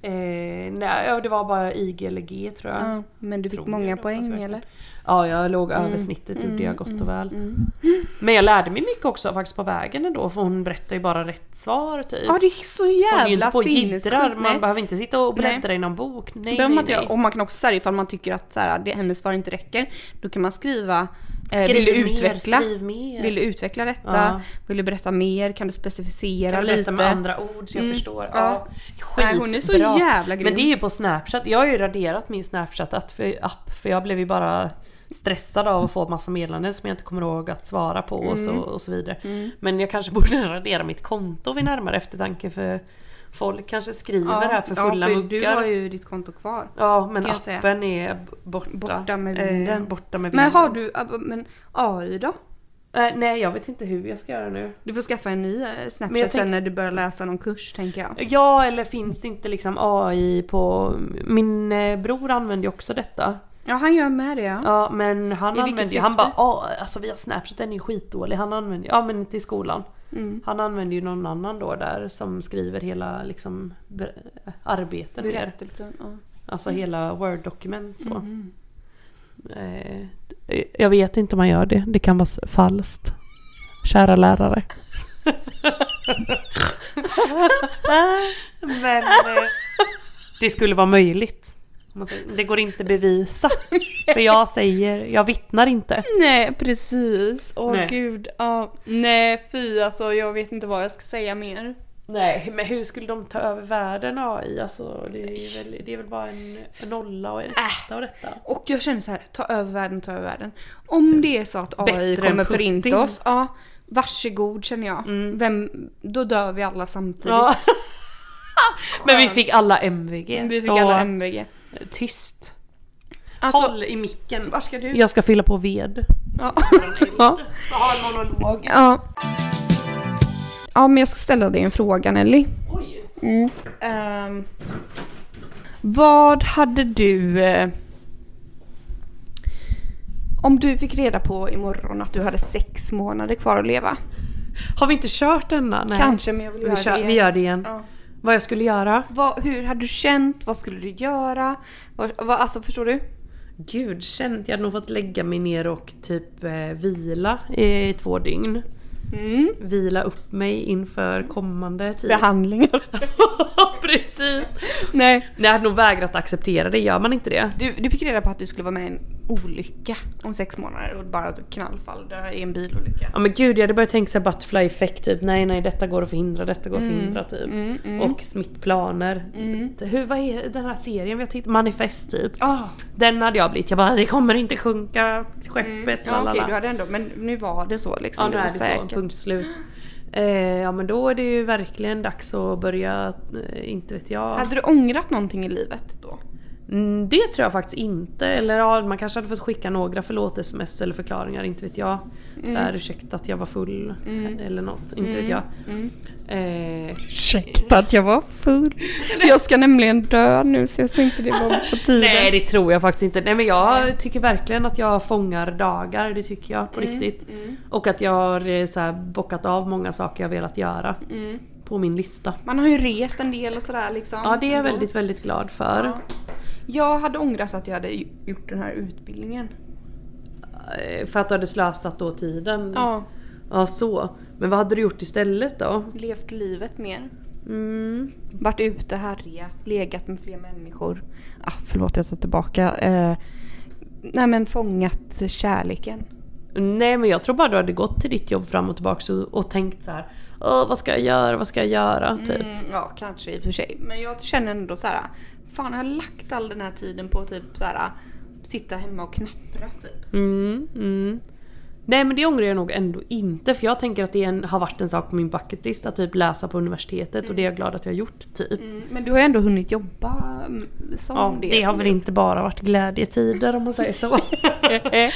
Speaker 2: Eh, nej, ja, det var bara IG eller G tror jag.
Speaker 1: Ja, men du fick
Speaker 2: Tror jag,
Speaker 1: många
Speaker 2: jag hoppas
Speaker 1: poäng
Speaker 2: verkligen.
Speaker 1: eller? Mm.
Speaker 2: Ja, jag låg över snittet gjorde jag gott och väl. Men jag lärde mig mycket också faktiskt på vägen ändå för hon berättade ju bara rätt svar typ.
Speaker 1: Ja det är så
Speaker 2: Hon är ju
Speaker 1: jävla
Speaker 2: inte på och jiddrar,
Speaker 1: sinnessjukt.
Speaker 2: man
Speaker 1: Nej.
Speaker 2: behöver inte sitta och bläddra
Speaker 1: Nej.
Speaker 2: i någon bok. Nej,
Speaker 1: Glöm
Speaker 2: nej,
Speaker 1: att
Speaker 2: nej.
Speaker 1: jag, och man kan också säga ifall man tycker att så här, det, hennes svar inte räcker, då kan man skriva eh,
Speaker 2: Skriv
Speaker 1: vill, du
Speaker 2: mer,
Speaker 1: utveckla,
Speaker 2: skriv mer.
Speaker 1: vill du utveckla detta?
Speaker 2: Ja.
Speaker 1: Vill du berätta mer? Kan du specificera
Speaker 2: Kan du
Speaker 1: lite? Mm.
Speaker 2: berätta med andra ord så jag förstår. Ja. Skitbra.
Speaker 1: Nej, hon är så jävla grym.
Speaker 2: Men det är ju på Snapchat. Jag har ju raderat min Snapchat-app för, app, för jag blev ju bara stressad av att få massa meddelanden som jag inte kommer ihåg att svara på och,
Speaker 1: Mm.
Speaker 2: så, och så vidare. Men jag kanske borde radera mitt konto vid närmare eftertanke för folk kanske skriver
Speaker 1: Ja,
Speaker 2: här för fulla
Speaker 1: ja, för Du
Speaker 2: muggar.
Speaker 1: har ju ditt konto kvar.
Speaker 2: Ja men
Speaker 1: kan jag säga.
Speaker 2: appen är b- borta.
Speaker 1: Borta med vinden.
Speaker 2: Eh, borta med vinden.
Speaker 1: Men har du, men AI då?
Speaker 2: Eh, nej jag vet inte hur jag ska göra nu.
Speaker 1: Du får skaffa en ny eh, Snapchat
Speaker 2: Men jag tänk-
Speaker 1: sen när du börjar läsa någon kurs tänker jag.
Speaker 2: Ja, eller finns det inte liksom AI på... Min eh, bror använder ju också detta.
Speaker 1: Ja han gör med det ja.
Speaker 2: Ja, men han
Speaker 1: I vilket
Speaker 2: använder ju...
Speaker 1: syfte?
Speaker 2: Han bara "Ja, alltså via Snapchat den är ju skitdålig. Han använder Ja, men till skolan.
Speaker 1: Mm.
Speaker 2: Han använder ju någon annan då där som skriver hela liksom ber- arbeten. och grejer.
Speaker 1: Berättelsen. Ja.
Speaker 2: Alltså hela Word-dokument så. Eh, jag vet inte om man gör det. Det kan vara s- falskt. Kära lärare. Men eh, det skulle vara möjligt. Om man säger- Det går inte bevisa. För jag säger, jag vittnar inte.
Speaker 1: Nej precis, åh
Speaker 2: Nej.
Speaker 1: gud. Ja. Nej fy alltså jag vet inte vad jag ska säga mer.
Speaker 2: Nej, men hur skulle de ta över världen AI? Alltså, det, är väl, det är väl bara en nolla och en etta och detta.
Speaker 1: Och jag känner så här, ta över världen, ta över världen. Om det är så att AI
Speaker 2: Bättre än
Speaker 1: kommer förinta
Speaker 2: Putin. Mm.
Speaker 1: oss, ja, varsågod känner jag. Vem, då dör vi alla samtidigt.
Speaker 2: Ja. Men vi fick alla MVG.
Speaker 1: vi fick
Speaker 2: så
Speaker 1: alla MVG.
Speaker 2: tyst.
Speaker 1: Alltså,
Speaker 2: Håll i micken.
Speaker 1: var ska du?
Speaker 2: Jag ska fylla på ved.
Speaker 1: Ja.
Speaker 2: Ja. Ha en monolog.
Speaker 1: ja. Ja men jag ska ställa dig en fråga Nelly.
Speaker 2: Oj.
Speaker 1: Ehm, vad hade du... Eh, om du fick reda på imorgon att du hade sex månader kvar att leva.
Speaker 2: Har vi inte kört denna? Nej.
Speaker 1: Kanske, men jag vill
Speaker 2: Vi,
Speaker 1: göra
Speaker 2: kör,
Speaker 1: det
Speaker 2: vi gör det igen.
Speaker 1: Ja.
Speaker 2: Vad jag skulle göra?
Speaker 1: Vad, hur hade du känt? Vad skulle du göra? Vad, vad, alltså förstår du?
Speaker 2: Gud, känt. Jag hade nog fått lägga mig ner och typ eh, vila i två dygn.
Speaker 1: Mm.
Speaker 2: Vila upp mig inför kommande tid.
Speaker 1: Behandlingar.
Speaker 2: Precis!
Speaker 1: Nej.
Speaker 2: Nej, jag hade nog vägrat acceptera det. Gör man inte det?
Speaker 1: Du, du fick reda på att du skulle vara med i en olycka om sex månader och bara ett knallfall dö i en bilolycka.
Speaker 2: Ja men gud jag hade börjat tänka såhär butterfly effect typ. Nej nej detta går att förhindra, detta går att
Speaker 1: Mm.
Speaker 2: förhindra typ. Och smittplaner. Hur, vad är den här serien vi har tittat Manifest typ.
Speaker 1: Ah,
Speaker 2: Den hade jag blivit. Jag bara det kommer inte sjunka skeppet.
Speaker 1: Mm. ja,
Speaker 2: lalala.
Speaker 1: okej, du hade ändå, men nu var det så liksom.
Speaker 2: ja nu
Speaker 1: det
Speaker 2: är
Speaker 1: var
Speaker 2: det
Speaker 1: säkert.
Speaker 2: så, punkt slut. Eh, ja men då är det ju verkligen dags att börja, eh, inte vet jag.
Speaker 1: Hade du ångrat någonting i livet då?
Speaker 2: Mm, det tror jag faktiskt inte. Eller ja, man kanske hade fått skicka några förlåt-sms eller förklaringar, inte vet jag. Så
Speaker 1: Mm.
Speaker 2: här, ursäkta att jag var full eller något, inte vet jag.
Speaker 1: Mm.
Speaker 2: Eh,
Speaker 1: Ursäkta att jag var full. Jag ska nämligen dö nu så jag tänkte det var på tiden.
Speaker 2: nej det tror jag faktiskt inte. Nej men jag tycker verkligen att jag fångar dagar, det tycker jag
Speaker 1: Mm.
Speaker 2: på riktigt. Och att jag har eh, så här, bockat av många saker jag velat göra.
Speaker 1: Mm.
Speaker 2: På min lista.
Speaker 1: Man har ju rest en del och sådär liksom.
Speaker 2: Ja det är jag
Speaker 1: Mm, Ändå.
Speaker 2: väldigt, väldigt glad för.
Speaker 1: Ja. Jag hade ångrat att jag hade gjort den här utbildningen.
Speaker 2: Eh, För att du hade slösat då tiden.
Speaker 1: Ja,
Speaker 2: Ja, så. Men vad hade du gjort istället då?
Speaker 1: levt livet mer.
Speaker 2: Mm.
Speaker 1: Varit ute, härjat, legat med fler människor. Ah, förlåt jag tar tillbaka. Eh, nej men fångat kärleken.
Speaker 2: Nej men jag tror bara du hade gått till ditt jobb fram och tillbaka och, och tänkt så här. Åh, vad ska jag göra, vad ska jag göra? Typ.
Speaker 1: Mm, ja, kanske i och för sig. Men jag känner ändå så här. Fan, jag har lagt all den här tiden på typ så här sitta hemma och knappra typ.
Speaker 2: Mm, mm. Nej men det ångrar jag nog ändå inte för jag tänker att det är en, har varit en sak på min bucketlist att typ läsa på universitetet och det
Speaker 1: Mm.
Speaker 2: är jag glad att jag har gjort typ.
Speaker 1: Men du har ju ändå hunnit jobba mm, som
Speaker 2: Ja,
Speaker 1: Mm, det.
Speaker 2: det har
Speaker 1: som
Speaker 2: väl
Speaker 1: du-
Speaker 2: inte bara varit glädjetider om man säger så.
Speaker 1: Nej,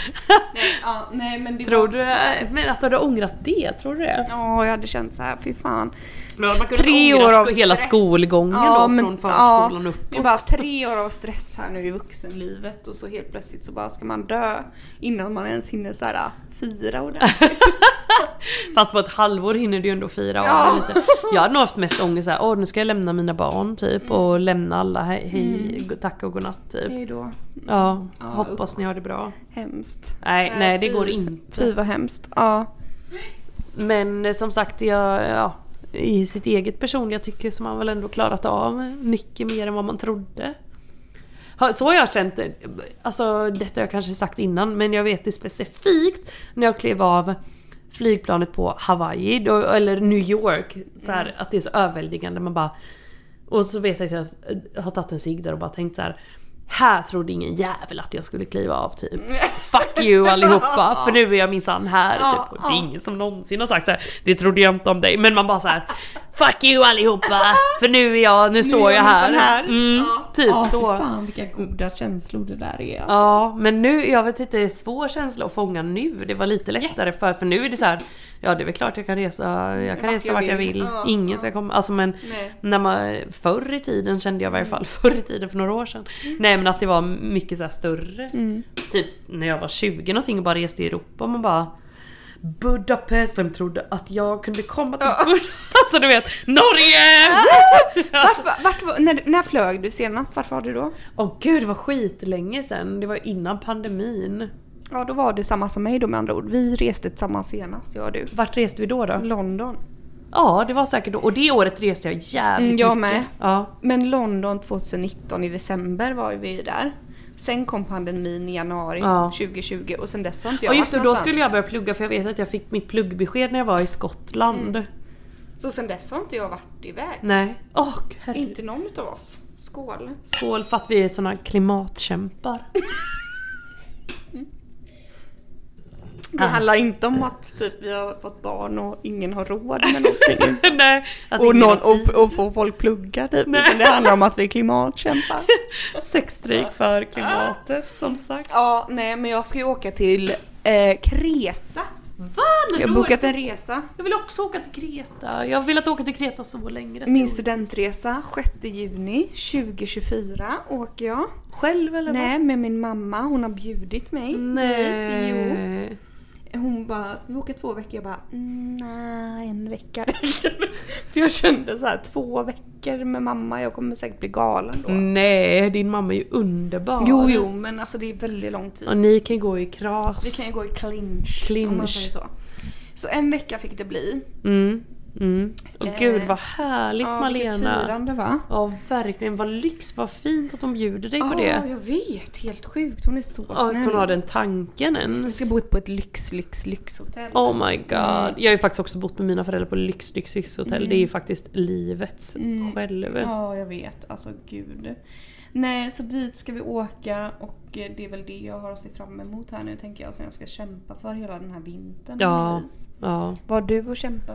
Speaker 1: ja, nej men det
Speaker 2: tror
Speaker 1: var...
Speaker 2: du eh, men att du hade ångrat det? Tror du det?
Speaker 1: Ja, jag hade känt så här, fy fan.
Speaker 2: Men hade man kunnat
Speaker 1: Tre
Speaker 2: ångra
Speaker 1: år av
Speaker 2: sko- hela
Speaker 1: stress.
Speaker 2: skolgången då från förskolan
Speaker 1: ja,
Speaker 2: uppåt?
Speaker 1: Det är bara tre år av stress här nu i vuxenlivet och så helt plötsligt så bara ska man dö innan man ens hinner så här fira ordentligt.
Speaker 2: Fast på ett halvår hinner du ju ändå fira av
Speaker 1: Ja.
Speaker 2: det lite. Jag hade nog haft mest ångest såhär, åh nu ska jag lämna mina barn typ
Speaker 1: Mm.
Speaker 2: och lämna alla hej, hej go- tack och godnatt typ.
Speaker 1: Hej då.
Speaker 2: Ja,
Speaker 1: Mm. Ja,
Speaker 2: hoppas ni har det bra.
Speaker 1: Hemskt.
Speaker 2: Nej,
Speaker 1: Nej,
Speaker 2: nej det
Speaker 1: fy.
Speaker 2: går
Speaker 1: Fy
Speaker 2: inte.
Speaker 1: vad hemskt. Ja.
Speaker 2: Men eh, som sagt, jag, ja, i sitt eget personliga tycke så har man väl ändå klarat av mycket mer än vad man trodde. Ha- Så har jag känt, det. alltså detta har jag kanske sagt innan men jag vet det specifikt när jag klev av flygplanet på Hawaii då, eller New York. Så
Speaker 1: Mm.
Speaker 2: här, Att det är så överväldigande. Man bara, och så vet jag att jag har tagit en cigg där och bara tänkt så här. Här trodde ingen jävel att jag skulle kliva av typ. Fuck you allihopa för nu är jag minsann här. Typ. Och det är ingen som någonsin har sagt så här. det trodde jag inte om dig. Men man bara så här. fuck you allihopa för nu är jag, nu står
Speaker 1: är
Speaker 2: jag
Speaker 1: jag
Speaker 2: här.
Speaker 1: minsann här.
Speaker 2: Mm, typ
Speaker 1: Ja,
Speaker 2: så.
Speaker 1: fy fan vilka goda känslor det där är. alltså.
Speaker 2: Ja, men nu, jag vet inte, det är svår känsla att fånga nu. Det var lite lättare för för nu är det så här. Ja det är väl klart jag kan resa, jag kan
Speaker 1: Vart
Speaker 2: resa
Speaker 1: jag
Speaker 2: vart jag
Speaker 1: vill.
Speaker 2: vill.
Speaker 1: Ja,
Speaker 2: Ingen ska komma, alltså men
Speaker 1: Nej. Mm.
Speaker 2: när man, förr i tiden kände jag i varje fall, förr i tiden för några år sedan. Nej men att det var mycket så här större.
Speaker 1: Mm.
Speaker 2: Typ när jag var 20 någonting och bara reste i Europa och man bara Budapest, vem trodde att jag kunde komma till Budapest? Alltså du vet, Norge!
Speaker 1: Ah. Vart, var- vart, var- när, när flög du senast? Vart var du då?
Speaker 2: Åh gud det var skitlänge sen, det var innan pandemin.
Speaker 1: Ja, då var du samma som mig då med andra ord. Vi reste tillsammans senast, jag och du.
Speaker 2: Vart reste vi då då?
Speaker 1: London.
Speaker 2: Ja, det var säkert då. Och det året reste jag jävligt
Speaker 1: Mm, jag
Speaker 2: mycket.
Speaker 1: med.
Speaker 2: Ja.
Speaker 1: Men London 2019 i december var ju vi ju där. Sen kom pandemin i januari
Speaker 2: Ja.
Speaker 1: 2020 och sen dess har inte jag
Speaker 2: ja, just det.
Speaker 1: varit
Speaker 2: Då
Speaker 1: någonstans.
Speaker 2: skulle jag börja plugga för jag vet att jag fick mitt pluggbesked när jag var i Skottland.
Speaker 1: Mm. Så sen dess har inte jag varit iväg.
Speaker 2: Nej. Åh, herregud.
Speaker 1: Inte någon utav oss. Skål.
Speaker 2: Skål för att vi är såna klimatkämpar.
Speaker 1: Det handlar inte om att typ, vi har fått barn och ingen har råd med någonting.
Speaker 2: Nej, att
Speaker 1: och,
Speaker 2: ingen
Speaker 1: någon,
Speaker 2: har tid.
Speaker 1: och, och få folk plugga typ. Utan det handlar om att vi klimatkämpar.
Speaker 2: Sexstrejk för klimatet, som sagt.
Speaker 1: ja, nej men jag ska ju åka till eh, Kreta.
Speaker 2: Va? Men
Speaker 1: Jag har
Speaker 2: då-
Speaker 1: bokat en resa.
Speaker 2: jag vill också åka till Kreta. Jag har velat åka till Kreta så länge.
Speaker 1: Min studentresa 6 juni 2024 åker jag.
Speaker 2: Själv eller vad?
Speaker 1: Nej, med min mamma. Hon har bjudit mig hit. Jo.
Speaker 2: Nej.
Speaker 1: Hon bara, ska vi åka två veckor? Jag bara, "Mm, nej en vecka räcker." För jag kände så här, två veckor med mamma, jag kommer säkert bli galen då.
Speaker 2: Nej, din mamma är ju underbar.
Speaker 1: Mm. Jo, jo, men alltså det är väldigt lång tid.
Speaker 2: Och ni kan ju gå i kras.
Speaker 1: Vi kan ju gå i clinch, om man
Speaker 2: Clinch.
Speaker 1: säger så. Så en vecka fick det bli.
Speaker 2: Mm, mm. Och
Speaker 1: Eh,
Speaker 2: gud vad härligt
Speaker 1: vilket
Speaker 2: Malena!
Speaker 1: firande va?
Speaker 2: Ja verkligen, vad lyx, vad fint att de bjuder dig
Speaker 1: Ja,
Speaker 2: på det.
Speaker 1: jag vet. Helt sjukt. Hon är så
Speaker 2: Ja,
Speaker 1: snäll.
Speaker 2: att hon har den tanken
Speaker 1: Vi
Speaker 2: ens.
Speaker 1: ska bo på ett lyx, lyx, Mm. lyxhotell.
Speaker 2: Oh my god. Jag har ju faktiskt också bott med mina föräldrar på lyx, lyx,
Speaker 1: Mm.
Speaker 2: lyxhotell. Det är ju faktiskt livets själv.
Speaker 1: Ja, jag vet. Alltså gud. Nej, så dit ska vi åka och eh, det är väl det jag har att se fram emot här nu tänker jag som jag ska kämpa för hela den här vintern.
Speaker 2: Ja.
Speaker 1: Louise.
Speaker 2: Ja.
Speaker 1: Vad har du att kämpa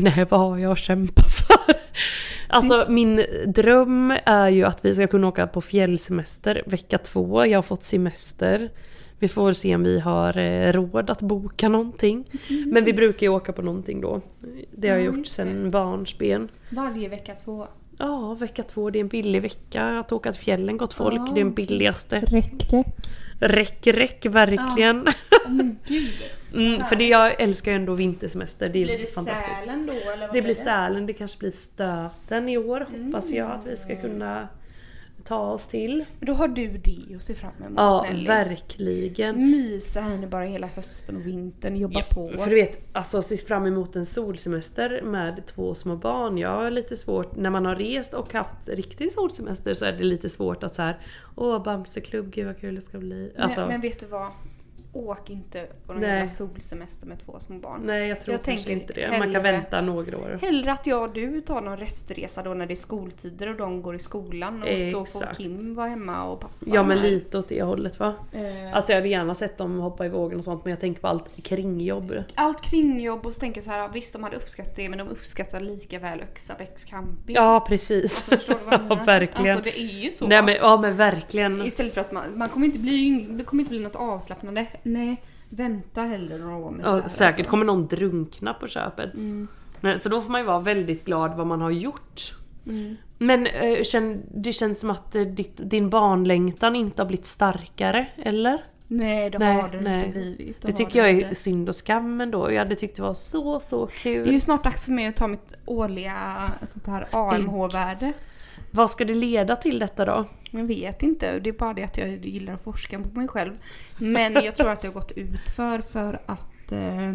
Speaker 2: Nej, vad har jag att kämpa för? Alltså
Speaker 1: Mm.
Speaker 2: min dröm är ju att vi ska kunna åka på fjällsemester vecka två. Jag har fått semester. Vi får se om vi har eh, råd att boka någonting. Men vi brukar ju åka på någonting då. Det har jag
Speaker 1: Mm. Ja,
Speaker 2: gjort
Speaker 1: just det.
Speaker 2: sedan barnsben.
Speaker 1: Varje vecka två.
Speaker 2: Ja, vecka två, det är en billig vecka. Att åka till fjällen, gott folk,
Speaker 1: Ja.
Speaker 2: det är den billigaste.
Speaker 6: Räck, räck.
Speaker 2: Räck, räck, verkligen.
Speaker 1: Åh men gud.
Speaker 2: Mm, för det, jag älskar ju ändå vintersemester, det är
Speaker 1: Blir det
Speaker 2: fantastiskt.
Speaker 1: Sälen då eller vad
Speaker 2: Det blir Sälen, det kanske blir Stöten i år hoppas jag att vi ska
Speaker 1: Mm.
Speaker 2: kunna ta oss till.
Speaker 1: Då har du det att se fram emot
Speaker 2: Ja,
Speaker 1: Nelly. Mm.
Speaker 2: verkligen.
Speaker 1: Mysa här nu bara hela hösten och vintern, jobba på.
Speaker 2: För du vet, alltså se fram emot en solsemester med två små barn. Jag har lite svårt, när man har rest och haft riktig solsemester så är det lite svårt att så här Åh Bamseklubb, gud vad kul det ska bli. Alltså,
Speaker 1: men, men vet du vad? Åk inte på någon
Speaker 2: Nej.
Speaker 1: jävla solsemester med två små barn.
Speaker 2: nej jag tror
Speaker 1: jag
Speaker 2: kanske
Speaker 1: tänker
Speaker 2: inte det. Man
Speaker 1: hellre-
Speaker 2: kan vänta några år.
Speaker 1: Hellre att jag och du tar någon restresa då när det är skoltider och de går i skolan och så får
Speaker 2: Exakt.
Speaker 1: Kim vara hemma och passa.
Speaker 2: Ja men
Speaker 1: här.
Speaker 2: lite åt det hållet va?
Speaker 1: Eh,
Speaker 2: Alltså jag hade gärna sett dem hoppa i vågen och sånt men jag tänker på allt kringjobb.
Speaker 1: Allt kringjobb och så tänker jag så här, visst de hade uppskattat det men de uppskattar lika väl Öxabäcks camping.
Speaker 2: Ja precis.
Speaker 1: Alltså, förstår du vad jag menar?
Speaker 2: ja, verkligen.
Speaker 1: Alltså det är ju så.
Speaker 2: Nej men, ja men verkligen.
Speaker 1: Istället för att man, man kommer inte bli, det kommer inte bli något avslappnande. Nej, vänta hellre några år med det här,
Speaker 2: ja, säkert
Speaker 1: alltså. Mm.
Speaker 2: kommer någon drunkna på köpet. Nej, så då får man ju vara väldigt glad vad man har gjort.
Speaker 1: Mm.
Speaker 2: Men eh, känn, det känns som att eh, ditt, din barnlängtan inte har blivit starkare, eller?
Speaker 1: Nej, det har det inte blivit.
Speaker 2: Det
Speaker 1: har
Speaker 2: tycker
Speaker 1: det
Speaker 2: jag är
Speaker 1: inte.
Speaker 2: synd och skam ändå. Jag hade tyckt det var så, så kul.
Speaker 1: Det är ju snart dags för mig att ta mitt årliga sånt här AMH-värde.
Speaker 2: Vad ska det leda till detta då?
Speaker 1: Jag vet inte, det är bara det att jag gillar att forska på mig själv. Men jag tror att det har gått ut för, för att... Eh,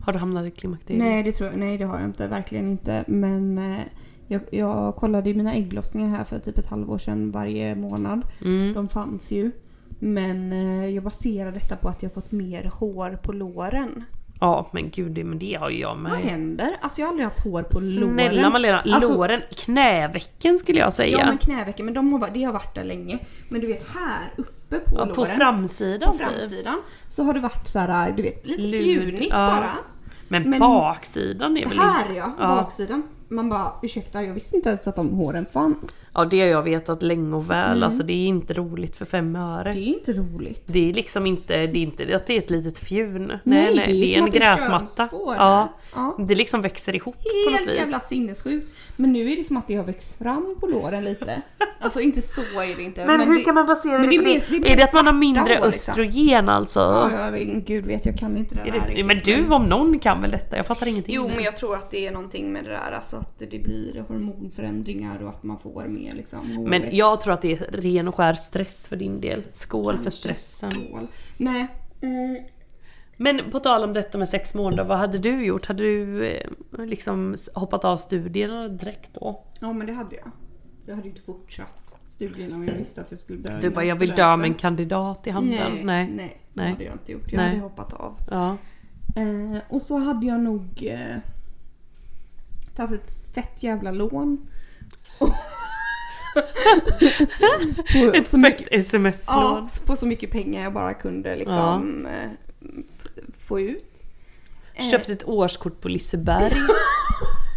Speaker 2: Har du hamnat i klimakteriet?
Speaker 1: nej, det tror jag, nej, det har jag inte. Verkligen inte. Men eh, jag, jag kollade ju mina ägglossningar här för typ ett halvår sedan varje månad.
Speaker 2: Mm.
Speaker 1: De fanns ju. Men eh, jag baserar detta på att jag fått mer hår på låren.
Speaker 2: Ja men gud, det, men det har ju jag med.
Speaker 1: Vad händer? Alltså jag har aldrig haft hår på låren.
Speaker 2: Snälla Malena,
Speaker 1: Alltså-
Speaker 2: låren, knävecken skulle jag säga.
Speaker 1: Ja men knävecken, men de har, varit- det har varit där länge. Men du vet här uppe på
Speaker 2: Ja,
Speaker 1: låren.
Speaker 2: på framsidan,
Speaker 1: på
Speaker 2: typ.
Speaker 1: framsidan så har det varit så här, äh, du vet, lite
Speaker 2: Lud-
Speaker 1: fjunigt
Speaker 2: ja.
Speaker 1: bara.
Speaker 2: Men,
Speaker 1: Men-
Speaker 2: baksidan är väl
Speaker 1: Här
Speaker 2: inte-
Speaker 1: ja,
Speaker 2: ja.
Speaker 1: baksidan. Man bara ursäkta, jag visste inte ens att de håren fanns.
Speaker 2: ja det har jag vetat länge och väl. Alltså det är inte roligt för fem öre.
Speaker 1: Mm. Det
Speaker 2: Det,
Speaker 1: är ju inte roligt.
Speaker 2: är liksom inte, det är inte att det är ett litet fjun. Nej
Speaker 1: Nej,
Speaker 2: nej,
Speaker 1: det är ju
Speaker 2: det är
Speaker 1: som
Speaker 2: en
Speaker 1: att det är
Speaker 2: gräsmatta.
Speaker 1: könsspår
Speaker 2: ja.
Speaker 1: där. Ja.
Speaker 2: Det liksom växer ihop på något
Speaker 1: Helt jävla
Speaker 2: vis.
Speaker 1: sinnessjukt. Men nu är det som att det har växt fram på låren lite. Alltså inte så är det inte.
Speaker 2: Men, hur kan man basera
Speaker 1: men
Speaker 2: det, på
Speaker 1: det är
Speaker 2: det?
Speaker 1: mest- det är
Speaker 2: är det
Speaker 1: mest
Speaker 2: att man har mindre
Speaker 1: svarta hår, liksom?
Speaker 2: östrogen alltså?
Speaker 1: Ja, jag vet- gud vet, jag kan inte det
Speaker 2: Är
Speaker 1: där
Speaker 2: det,
Speaker 1: riktigt. Mm.
Speaker 2: men du om någon kan väl detta? Jag fattar ingenting.
Speaker 1: Jo, men jag tror att det är någonting med det där, alltså att det blir hormonförändringar och att man får mer liksom
Speaker 2: Men
Speaker 1: hårväxt.
Speaker 2: jag tror att det är ren och skär stress för din del. Skål för stressen.
Speaker 1: Skål. Nej. Mm.
Speaker 2: Men på tal om detta med sex månader, vad hade du gjort? Hade du eh, liksom s- hoppat av studierna direkt då?
Speaker 1: Ja, men det hade jag. Jag hade ju inte fortsatt studierna om jag visste att jag skulle dö.
Speaker 2: Du
Speaker 1: innan
Speaker 2: bara, jag vill dö
Speaker 1: studenten."
Speaker 2: med en kandidat i handen.
Speaker 1: Nej,
Speaker 2: Nej.
Speaker 1: nej, nej, det
Speaker 2: Nej.
Speaker 1: hade jag inte gjort. Jag
Speaker 2: Nej.
Speaker 1: hade hoppat av.
Speaker 2: Ja.
Speaker 1: Eh, och så hade jag nog eh, tagit ett fett jävla lån. På-
Speaker 2: Ett
Speaker 1: så mycket-
Speaker 2: fett sms-lån.
Speaker 1: Ja, på så mycket pengar jag bara kunde liksom eh, f- få ut. Eh,
Speaker 2: Köpt ett årskort på Liseberg.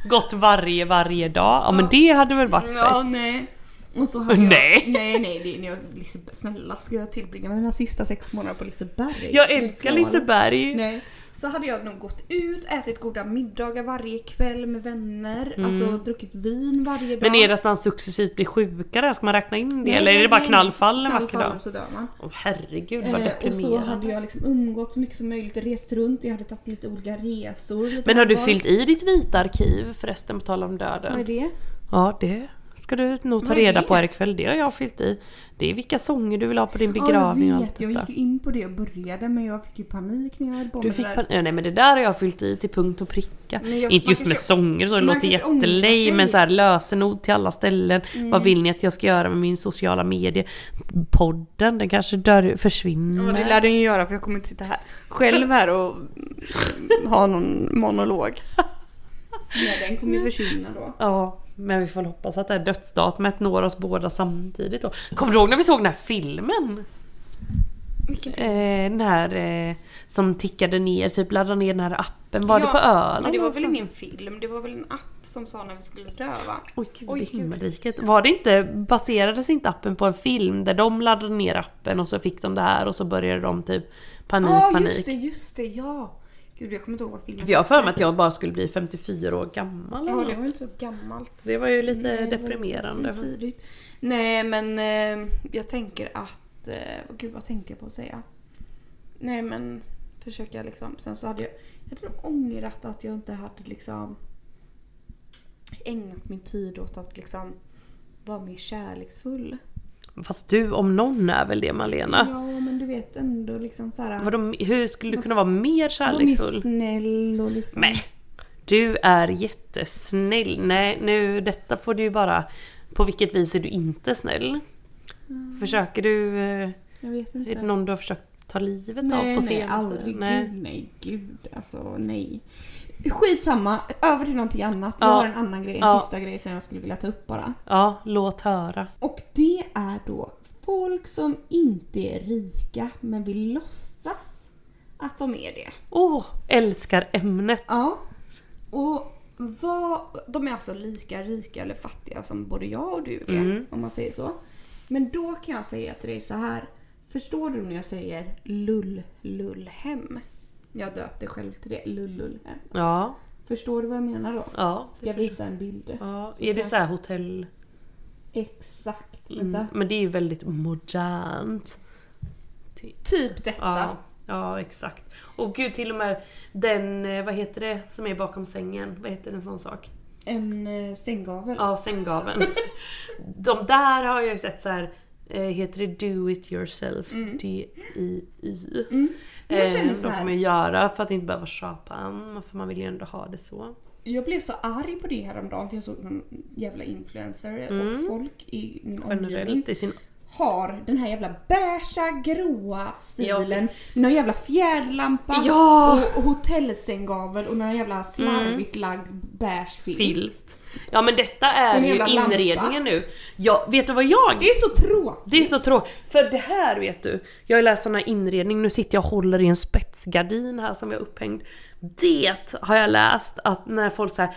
Speaker 2: Gått varje, varje dag. Ja men det hade väl varit
Speaker 1: Ja,
Speaker 2: fett?
Speaker 1: nej. Och så hade jag,
Speaker 2: Nej.
Speaker 1: Nej, nej, det, nej, Liseberg, snälla ska jag tillbringa mina sista sex månader på Liseberg?
Speaker 2: Jag älskar
Speaker 1: Snälla.
Speaker 2: Liseberg.
Speaker 1: Nej. Så hade jag nog gått ut, ätit goda middagar varje kväll med vänner, alltså druckit vin varje dag.
Speaker 2: Mm. Men är det att man successivt blir sjukare? Ska man räkna in det?
Speaker 1: Nej,
Speaker 2: Eller är
Speaker 1: nej,
Speaker 2: det bara
Speaker 1: nej,
Speaker 2: knallfall en vacker
Speaker 1: knallfall
Speaker 2: dag?
Speaker 1: så dör man.
Speaker 2: Åh herregud vad
Speaker 1: Eh, och så hade
Speaker 2: deprimerande.
Speaker 1: jag liksom umgått så mycket som möjligt, rest runt, jag hade tagit lite olika resor. Lite
Speaker 2: Men har du
Speaker 1: var-
Speaker 2: fyllt i ditt vita arkiv förresten på tal om döden?
Speaker 1: Vad är det?
Speaker 2: Ja, det ska du nog ta
Speaker 1: Vad är
Speaker 2: reda
Speaker 1: det?
Speaker 2: på här ikväll. Det har jag fyllt i. Det är vilka sånger du vill ha på din
Speaker 1: Ja,
Speaker 2: begravning
Speaker 1: jag
Speaker 2: och
Speaker 1: vet,
Speaker 2: allt
Speaker 1: jag gick
Speaker 2: detta.
Speaker 1: ju in på det och började men jag fick ju panik när jag höll på
Speaker 2: Du
Speaker 1: med
Speaker 2: fick
Speaker 1: det
Speaker 2: pan- Nej men det där har jag fyllt i till punkt och pricka.
Speaker 1: Men jag-
Speaker 2: Inte
Speaker 1: man
Speaker 2: just med
Speaker 1: kanske-
Speaker 2: sånger så det
Speaker 1: man
Speaker 2: låter
Speaker 1: kanske ångrar sig. Mm.
Speaker 2: jättelej men så här lösenord till alla ställen. Vad vill ni att jag ska göra med min sociala medie? Podden, den kanske dör, försvinner.
Speaker 1: Ja, det lär den ju göra för jag kommer inte sitta här själv här och ha någon monolog. Nej, den kommer ju försvinna då.
Speaker 2: Ja. Men vi får väl hoppas att det här dödsdatumet når oss båda samtidigt då. Kommer du ihåg när vi såg den här filmen?
Speaker 1: Vilken
Speaker 2: Eh, den här eh, som tickade ner, typ laddade ner den här appen. Var det
Speaker 1: Ja,
Speaker 2: på
Speaker 1: Men
Speaker 2: Öland?
Speaker 1: det var väl ingen film, det var väl en app som sa när vi skulle dö va?
Speaker 2: Oj gud,
Speaker 1: Oj,
Speaker 2: i
Speaker 1: gud.
Speaker 2: himmelriket. Var det inte, baserades inte appen på en film där de laddade ner appen och så fick de det här och så började de typ panik,
Speaker 1: Ja just
Speaker 2: panik.
Speaker 1: det, just det, ja! Gud jag kommer inte ihåg vad filmen
Speaker 2: För jag har för mig att jag bara skulle bli 54 år gammal
Speaker 1: Ja
Speaker 2: eller
Speaker 1: det var ju
Speaker 2: något.
Speaker 1: inte så gammalt.
Speaker 2: Det var ju lite
Speaker 1: Nej, det var
Speaker 2: deprimerande.
Speaker 1: lite tidigt. Nej men eh, jag tänker att, eh, åh, gud vad tänkte jag på att säga? Nej men försöker jag liksom, sen så hade jag, jag hade nog ångrat att jag inte hade liksom ägnat min tid åt att liksom vara mer kärleksfull.
Speaker 2: Fast du om någon är väl det Malena?
Speaker 1: Ja men du vet ändå liksom såhär.
Speaker 2: Vadå, hur skulle du
Speaker 1: Vad
Speaker 2: kunna vara mer
Speaker 1: Hon är
Speaker 2: kärleksfull?
Speaker 1: snäll och liksom...
Speaker 2: Nej. Du är jättesnäll. Nej, nu detta får du ju bara... På vilket vis är du inte snäll?
Speaker 1: Mm.
Speaker 2: Försöker du... eh,
Speaker 1: Jag vet inte.
Speaker 2: Är det någon du har försökt ta livet av på
Speaker 1: nej, nej,
Speaker 2: senaste?
Speaker 1: aldrig.
Speaker 2: Nej.
Speaker 1: Gud, nej, gud. Alltså, nej. Skitsamma, över till någonting annat. Jag
Speaker 2: Ja.
Speaker 1: har en annan grej, en
Speaker 2: Ja.
Speaker 1: sista grej som jag skulle vilja ta upp bara.
Speaker 2: Ja, låt höra.
Speaker 1: Och det är då folk som inte är rika men vill låtsas att de är det.
Speaker 2: Åh, älskar ämnet.
Speaker 1: Ja. Och vad, de är alltså lika rika eller fattiga som både jag och du är,
Speaker 2: Mm.
Speaker 1: om man säger så. Men då kan jag säga till dig så här. Förstår du när jag säger lull, lull hem? Jag döpte själv till det, lull, lull hem.
Speaker 2: Ja,
Speaker 1: Förstår du vad jag menar då?
Speaker 2: ja.
Speaker 1: Ska jag visa en bild?
Speaker 2: ja. Är det
Speaker 1: kan-
Speaker 2: så här hotell...
Speaker 1: Exakt, vänta.
Speaker 2: Mm. Men det är ju väldigt modernt.
Speaker 1: Typ detta.
Speaker 2: Ja, ja exakt. Och gud till och med den, eh, vad heter det, som är bakom sängen. Vad heter en sån sak?
Speaker 1: En eh, sänggavel.
Speaker 2: Ja, sänggaveln. De där har jag ju sett så här. eh, Heter det do it yourself? D-I-Y.
Speaker 1: Mm. Men jag
Speaker 2: Eh,
Speaker 1: känner så
Speaker 2: Då
Speaker 1: här-
Speaker 2: får man göra för att inte behöva köpa en, för man vill ju ändå ha det så.
Speaker 1: Jag blev så arg på det häromdagen för jag såg någon jävla influencer och folk i min omgivning
Speaker 2: Mm. Generellt i sin...
Speaker 1: har den här jävla beiga, gråa stilen.
Speaker 2: Ja.
Speaker 1: Någon jävla fjäderlampa
Speaker 2: Ja! Mm.
Speaker 1: och hotellsänggavel och någon jävla slarvigt lagd beige filt.
Speaker 2: Filt. Ja men detta är
Speaker 1: En
Speaker 2: ju
Speaker 1: jävla lampa.
Speaker 2: inredningen nu. Ja, vet du vad jag
Speaker 1: Det är så tråkigt.
Speaker 2: Det är så tråkigt. För det här vet du, jag har läst sån här inredning, nu sitter jag och håller i en spetsgardin här som jag är upphängd. Det har jag läst att när folk säger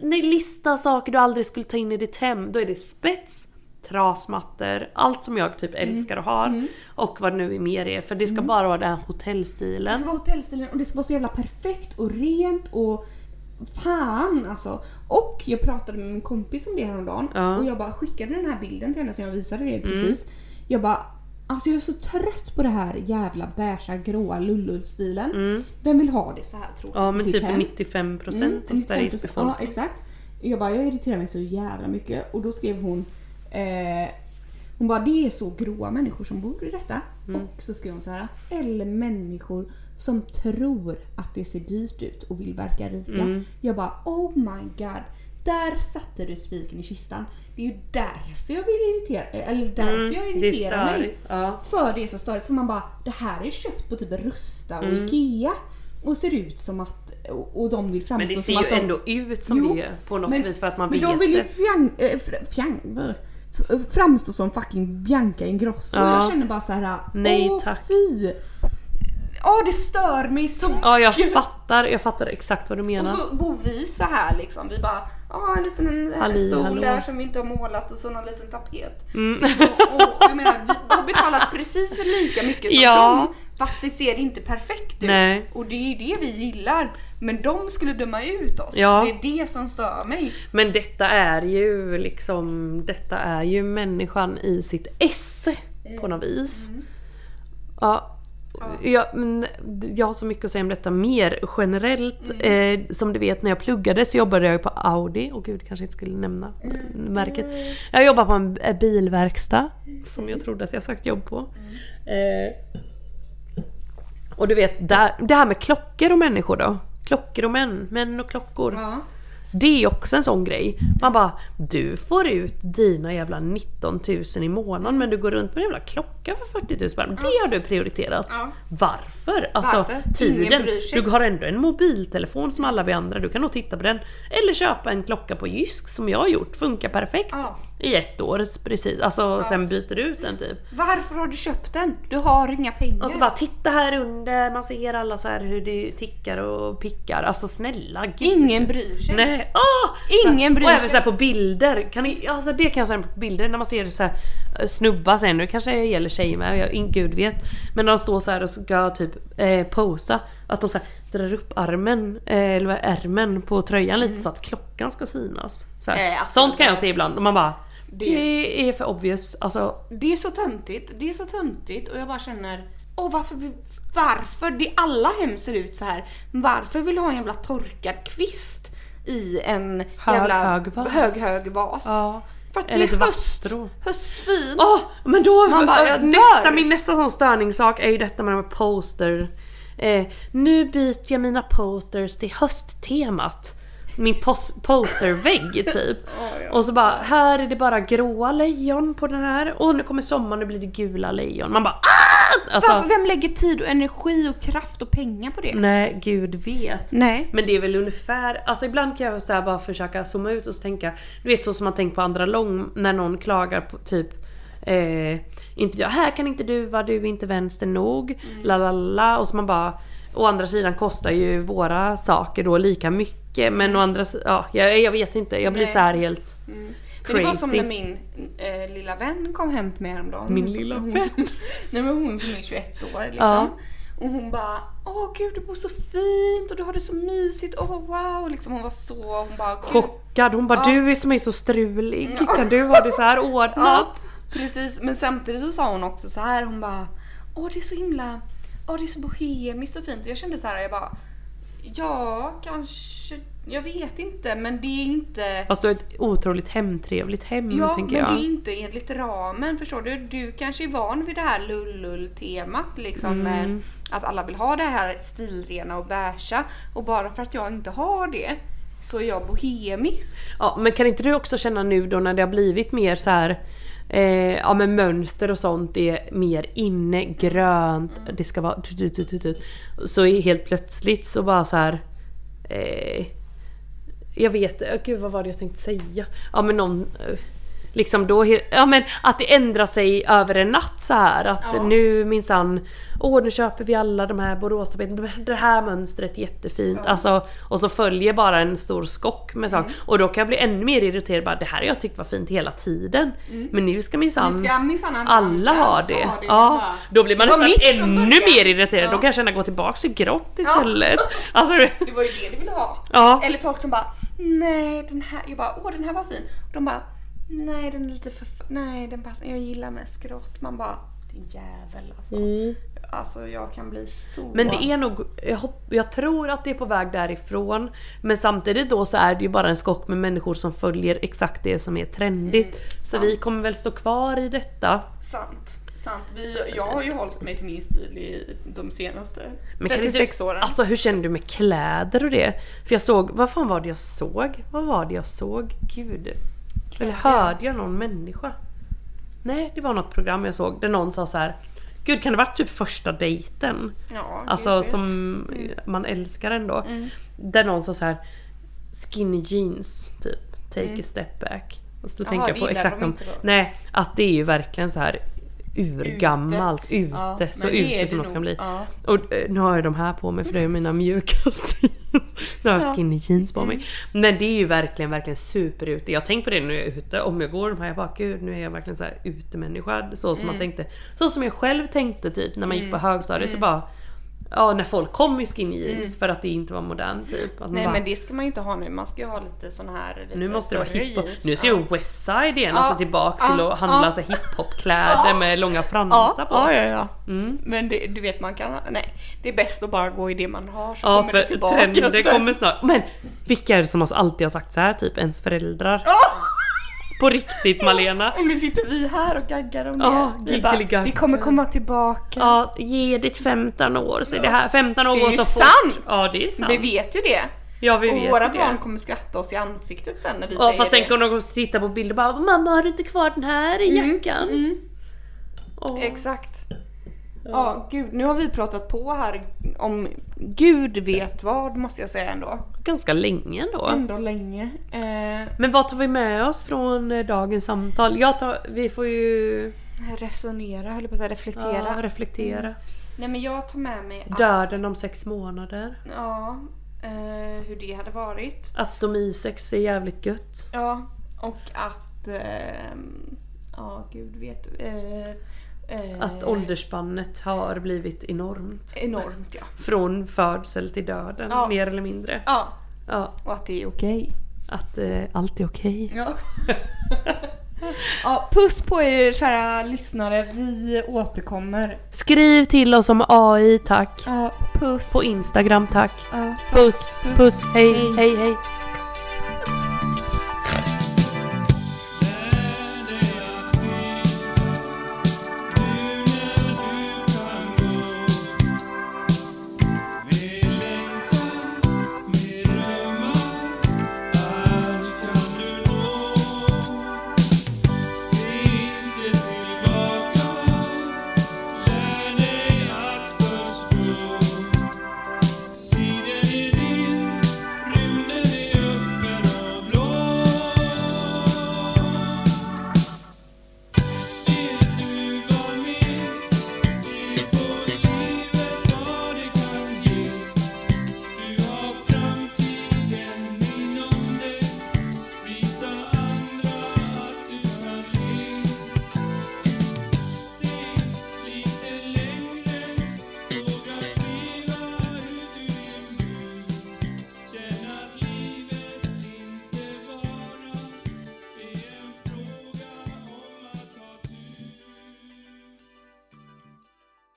Speaker 2: nej lista saker du aldrig skulle ta in i ditt hem, då är det spets, trasmattor, allt som jag
Speaker 1: Mm.
Speaker 2: typ älskar och har. Och vad det nu är mer är, för det ska bara vara den här
Speaker 1: Det
Speaker 2: hotellstilen.
Speaker 1: Mm. ska vara hotellstilen och det ska vara så jävla perfekt och rent och Fan alltså! Och jag pratade med min kompis om det häromdagen
Speaker 2: Ja. Mm.
Speaker 1: och jag bara skickade den här bilden till henne som jag visade dig precis. Jag bara Alltså jag är så trött på det här jävla beiga gråa lullullstilen. Vem vill ha det så här tråkigt
Speaker 2: Mm. Ja
Speaker 1: i
Speaker 2: men
Speaker 1: sitt
Speaker 2: typ
Speaker 1: hem?
Speaker 2: 95%
Speaker 1: Mm,
Speaker 2: av Sveriges
Speaker 1: 95%.
Speaker 2: befolkning.
Speaker 1: Ja, exakt. Jag bara, jag irriterar mig så jävla mycket. Och då skrev hon... Eh, hon bara, det är så gråa människor som bor i detta. Och så skrev hon så här, eller människor som tror att det ser dyrt ut och vill verka rika.
Speaker 2: Mm.
Speaker 1: Jag bara, oh my god. Där satte du spiken i kistan. Det är ju därför jag vill irritera eller därför
Speaker 2: Mm,
Speaker 1: jag
Speaker 2: det är
Speaker 1: irriterar mig.
Speaker 2: störigt, ja.
Speaker 1: För det är så störigt för man bara det här är köpt på typ Rusta och
Speaker 2: Mm.
Speaker 1: Ikea och ser ut som att och, och de vill framstå
Speaker 2: Men det ser
Speaker 1: som
Speaker 2: ju
Speaker 1: att de,
Speaker 2: ändå ut som
Speaker 1: Jo,
Speaker 2: det på något vis för att man
Speaker 1: men
Speaker 2: vet
Speaker 1: de vill ju
Speaker 2: det.
Speaker 1: fjang, eh, fr- fjang, eh, f- framstå som fucking Bianca Ingrosso.
Speaker 2: Ja.
Speaker 1: Jag känner bara så här.
Speaker 2: Nej,
Speaker 1: åh
Speaker 2: tack.
Speaker 1: fy! Ja det stör mig så
Speaker 2: Ja jag fattar, jag fattar exakt vad du
Speaker 1: Och
Speaker 2: menar.
Speaker 1: så bor vi så här liksom. Vi bara, ja en liten eh,
Speaker 2: Halli,
Speaker 1: stol
Speaker 2: hallå. Mm.
Speaker 1: där som vi inte har målat och så någon liten tapet. Och, och, jag menar, vi har betalat precis lika mycket som
Speaker 2: Ja.
Speaker 1: dem. Fast det ser inte perfekt ut.
Speaker 2: Nej.
Speaker 1: Och det är ju det vi gillar. Men de skulle döma ut oss.
Speaker 2: Ja.
Speaker 1: Det är det som stör mig.
Speaker 2: Men detta är ju liksom, detta är ju människan i sitt esse på något vis. Ja. Jag, men jag har så mycket att säga om detta mer generellt. Eh, som du vet när jag pluggade så jobbade jag ju på Audi, och gud kanske inte skulle nämna eh, märket. Jag jobbade på en eh, bilverkstad som jag trodde att jag sökt jobb på. Eh, och du vet, där, det här med klockor och människor då. Klockor och män, män och klockor.
Speaker 1: Ja.
Speaker 2: Det är också en sån grej. Man bara, du får ut dina jävla 19 000 i månaden men du går runt med en jävla klocka för 40 000 spänn. Det har du prioriterat.
Speaker 1: Ja.
Speaker 2: Varför? Alltså
Speaker 1: Varför? Ingen
Speaker 2: tiden.
Speaker 1: bryr sig.
Speaker 2: Du har ändå en mobiltelefon som alla vi andra, du kan nog titta på den. Eller köpa en klocka på Jysk som jag har gjort, funkar perfekt.
Speaker 1: Ja.
Speaker 2: I ett år precis, alltså sen byter du ut den typ.
Speaker 1: Varför har du köpt den? Du har inga pengar.
Speaker 2: Och så bara titta här under, man ser alla så här hur det tickar och pickar. Alltså snälla gud.
Speaker 1: Ingen bryr sig.
Speaker 2: Nej. Åh!
Speaker 1: Ingen
Speaker 2: Så-
Speaker 1: bryr
Speaker 2: Och
Speaker 1: sig.
Speaker 2: även så här på bilder. Kan ni, alltså det kan jag säga på bilder när man ser så här, eh, snubbar sen, det kanske gäller tjejer med, jag, in- gud vet. Men när de står så här och ska typ eh, posa, att de så här, drar upp armen, eh, eller vad, ärmen på tröjan lite så att klockan ska synas. Så här.
Speaker 1: Mm. Eh, absolut.
Speaker 2: Sånt kan jag se ibland och man bara
Speaker 1: Det-
Speaker 2: det, är för obvious. Alltså,
Speaker 1: Det är så töntigt, det är så töntigt och jag bara känner Åh varför, vi- varför? Det alla hem ser ut så här. Varför vill du ha en jävla torkad kvist i en
Speaker 2: Hög,
Speaker 1: jävla
Speaker 2: hög vas.
Speaker 1: hög, hög vas?
Speaker 2: ja.
Speaker 1: För att det
Speaker 2: Eller
Speaker 1: är
Speaker 2: ett
Speaker 1: höst,
Speaker 2: vasstrå.
Speaker 1: höstfint.
Speaker 2: Åh! men då,
Speaker 1: Man bara, jag dör.
Speaker 2: nästa, min nästa sån störningssak är ju detta med de här poster. Eh, nu byter jag mina posters till hösttemat. Min pos- postervägg typ. Och så bara, här är det bara gråa lejon på den här. Och nu kommer sommaren, nu blir det gula lejon. Man bara ah! Alltså, Mm.
Speaker 1: varför, vem lägger tid och energi och kraft och pengar på det?
Speaker 2: nej gud vet.
Speaker 1: Nej.
Speaker 2: Men det är väl ungefär, alltså ibland kan jag så här bara försöka zooma ut och så tänka, du vet så som man tänkt på andra lång, när någon klagar på typ eh, inte jag, här kan inte du vara, du är inte vänster nog,
Speaker 1: Mm.
Speaker 2: la la la och så man bara Å andra sidan kostar ju våra saker då lika mycket men å andra sidan, ja jag, jag vet inte, jag blir
Speaker 1: Mm. Nej. Mm.
Speaker 2: så här helt
Speaker 1: Men det var som
Speaker 2: Crazy.
Speaker 1: när min eh, lilla vän kom hem till mig häromdagen.
Speaker 2: Min
Speaker 1: Hon-
Speaker 2: lilla
Speaker 1: hon-
Speaker 2: vän.
Speaker 1: Nej men hon som är 21 år liksom.
Speaker 2: Ja.
Speaker 1: Och hon bara Åh gud du bor så fint och du har det så mysigt. Åh wow. Liksom, hon var så, hon bara "Gud."
Speaker 2: chockad, hon bara
Speaker 1: Ja. Mm.
Speaker 2: du är som är så strulig, kan du ha det så här
Speaker 1: Ja,
Speaker 2: ordnat?
Speaker 1: precis. Men samtidigt så sa hon också så här. Hon bara Åh det är så himla, åh det är så bohemiskt och fint. Och jag kände så här jag bara Ja kanske, jag vet inte men det är inte
Speaker 2: Fast du har ett otroligt hemtrevligt hem
Speaker 1: Ja, men
Speaker 2: tänker jag.
Speaker 1: det är inte enligt ramen förstår du. Du kanske är van vid det här lullull-temat liksom
Speaker 2: Mm.
Speaker 1: med att alla vill ha det här stilrena och beiga och bara för att jag inte har det så är jag bohemisk.
Speaker 2: Ja, men kan inte du också känna nu då när det har blivit mer så här eh, ja men mönster och sånt är mer inne, grönt, det ska vara tut, tut, tut, tut, tut. Så är helt plötsligt så bara så här eh, jag vet oh, gud vad var det jag tänkte säga? Ja men någon eh, Liksom då, he- ja men att det ändrar sig över en natt så här att
Speaker 1: Ja.
Speaker 2: nu minsann Åh nu köper vi alla de här boråstapeterna, det här mönstret är jättefint. Alltså, och så följer bara en stor skock med saker.
Speaker 1: Mm.
Speaker 2: Och då kan jag bli ännu mer irriterad bara det här har jag tyckt var fint hela tiden. Men nu ska minsann
Speaker 1: Mm. Nu ska minsann alla
Speaker 2: alla
Speaker 1: andra
Speaker 2: ha
Speaker 1: också
Speaker 2: det.
Speaker 1: ha det,
Speaker 2: Ja,
Speaker 1: bara.
Speaker 2: då blir man
Speaker 1: Det var mitt
Speaker 2: nästan
Speaker 1: från
Speaker 2: ännu
Speaker 1: början.
Speaker 2: mer irriterad.
Speaker 1: Ja.
Speaker 2: Då kan jag känna gå tillbaka till grått istället. Alltså,
Speaker 1: Det var ju det du ville ha.
Speaker 2: ja.
Speaker 1: Eller folk som bara nej den här, jag bara åh den här var fin. Och de bara nej den är lite för, nej den passar, jag gillar mest grått. Man bara din jävel alltså. Alltså jag kan bli så...
Speaker 2: Mm. Men det är nog, jag, hopp, jag tror att det är på väg därifrån. Men samtidigt då så är det ju bara en skock med människor som följer exakt det som är trendigt. så vi kommer väl stå kvar i detta.
Speaker 1: Sant. Sant. Vi, jag har ju hållit mig till min stil i de senaste
Speaker 2: Men kan inte-
Speaker 1: 36 åren.
Speaker 2: Alltså hur känner du med kläder och det? För jag såg, vad fan var det jag såg? Vad var det jag såg? Gud. Eller hörde jag någon människa? Nej, det var något program jag såg där någon sa så här. Gud kan det varit typ första dejten?
Speaker 1: ja, gud
Speaker 2: Alltså
Speaker 1: vet.
Speaker 2: som
Speaker 1: Mm.
Speaker 2: man älskar ändå. Där någon sa så här skinny jeans typ, take a step back. Och så
Speaker 1: Mm. Jaha,
Speaker 2: tänker jag
Speaker 1: det
Speaker 2: på
Speaker 1: gillar
Speaker 2: exakt
Speaker 1: de
Speaker 2: om,
Speaker 1: inte då?
Speaker 2: nej att det är ju verkligen så här urgammalt ute,
Speaker 1: Ja,
Speaker 2: så
Speaker 1: men det är
Speaker 2: ute som
Speaker 1: det
Speaker 2: något
Speaker 1: nog.
Speaker 2: kan bli.
Speaker 1: Ja.
Speaker 2: Och eh, nu har jag de här på mig för det är mina mjukaste. nu har jag skinny jeans på
Speaker 1: Mm.
Speaker 2: mig. Men det är ju verkligen, verkligen superute. Jag tänker på det när jag är ute. Om jag går de här, jag bara gud nu är jag verkligen så här utemänniska. Så som man
Speaker 1: Mm.
Speaker 2: tänkte. Så som jag själv tänkte typ när man gick på högstadiet. och bara Ja när folk kom i skinny jeans för att det inte var modernt typ. Att man
Speaker 1: Mm. Nej
Speaker 2: bara,
Speaker 1: men det ska man ju inte ha nu. Man ska ju ha lite sån här... Lite
Speaker 2: nu måste det vara
Speaker 1: större
Speaker 2: hiphop.
Speaker 1: jeans.
Speaker 2: Nu ska jag Westside igen,
Speaker 1: Ja.
Speaker 2: alltså tillbaks till
Speaker 1: Ja.
Speaker 2: att handla
Speaker 1: Ja.
Speaker 2: ja. hiphopkläder med långa
Speaker 1: Ja,
Speaker 2: fransar på. Mm.
Speaker 1: ja, ja, ja. Men det, du vet man kan... Nej. Det är bäst att bara gå i det man har så
Speaker 2: Ja
Speaker 1: kommer det
Speaker 2: för
Speaker 1: tillbaka.
Speaker 2: trenden
Speaker 1: sen.
Speaker 2: kommer snart. Men vilka är det som alltid har sagt så här typ ens föräldrar? På riktigt Malena.
Speaker 1: Och nu sitter vi här och gaggar om det.
Speaker 2: Ja,
Speaker 1: vi, bara,
Speaker 2: giggeligack.
Speaker 1: vi kommer komma tillbaka.
Speaker 2: Ja, ge ditt 15 år så är det här. 15 år
Speaker 1: Det är
Speaker 2: går
Speaker 1: ju
Speaker 2: så fort.
Speaker 1: sant!
Speaker 2: Ja det är sant.
Speaker 1: Vi vet ju det.
Speaker 2: Ja vi
Speaker 1: Och
Speaker 2: vet
Speaker 1: våra
Speaker 2: det.
Speaker 1: barn kommer skratta oss i ansiktet sen när vi
Speaker 2: Ja
Speaker 1: säger
Speaker 2: fast
Speaker 1: det.
Speaker 2: sen kommer de också titta på bilder och bara Mamma har du inte kvar den här i
Speaker 1: Mm.
Speaker 2: jackan? Åh.
Speaker 1: Exakt. Ja, gud. Nu har vi pratat på här om gud vet vad, måste jag säga ändå.
Speaker 2: Ganska länge ändå.
Speaker 1: Ändå länge. Eh,
Speaker 2: Men vad tar vi med oss från eh, dagens samtal? Jag tar, vi får ju
Speaker 1: resonera, höll jag på att säga. Reflektera. Mm.
Speaker 2: ja, reflektera.
Speaker 1: Nej men jag tar med mig att...
Speaker 2: Döden om sex månader.
Speaker 1: Ja. Eh, hur det hade varit.
Speaker 2: Att stå med i sex är jävligt gött.
Speaker 1: Ja, och att... ehm, Ja, gud vet. eh, eh,
Speaker 2: Att åldersspannet har blivit enormt.
Speaker 1: Enormt ja.
Speaker 2: Från födsel till döden,
Speaker 1: Ja.
Speaker 2: mer eller mindre.
Speaker 1: Ja,
Speaker 2: Ja,
Speaker 1: och att det är okej.
Speaker 2: att eh, allt är okej.
Speaker 1: Ja. ja, puss på er kära lyssnare. Vi återkommer.
Speaker 2: Skriv till oss om AI, tack.
Speaker 1: Ja, puss. 啊
Speaker 2: På Instagram, tack.
Speaker 1: Ja.
Speaker 2: Puss, puss, hej, hej, hej.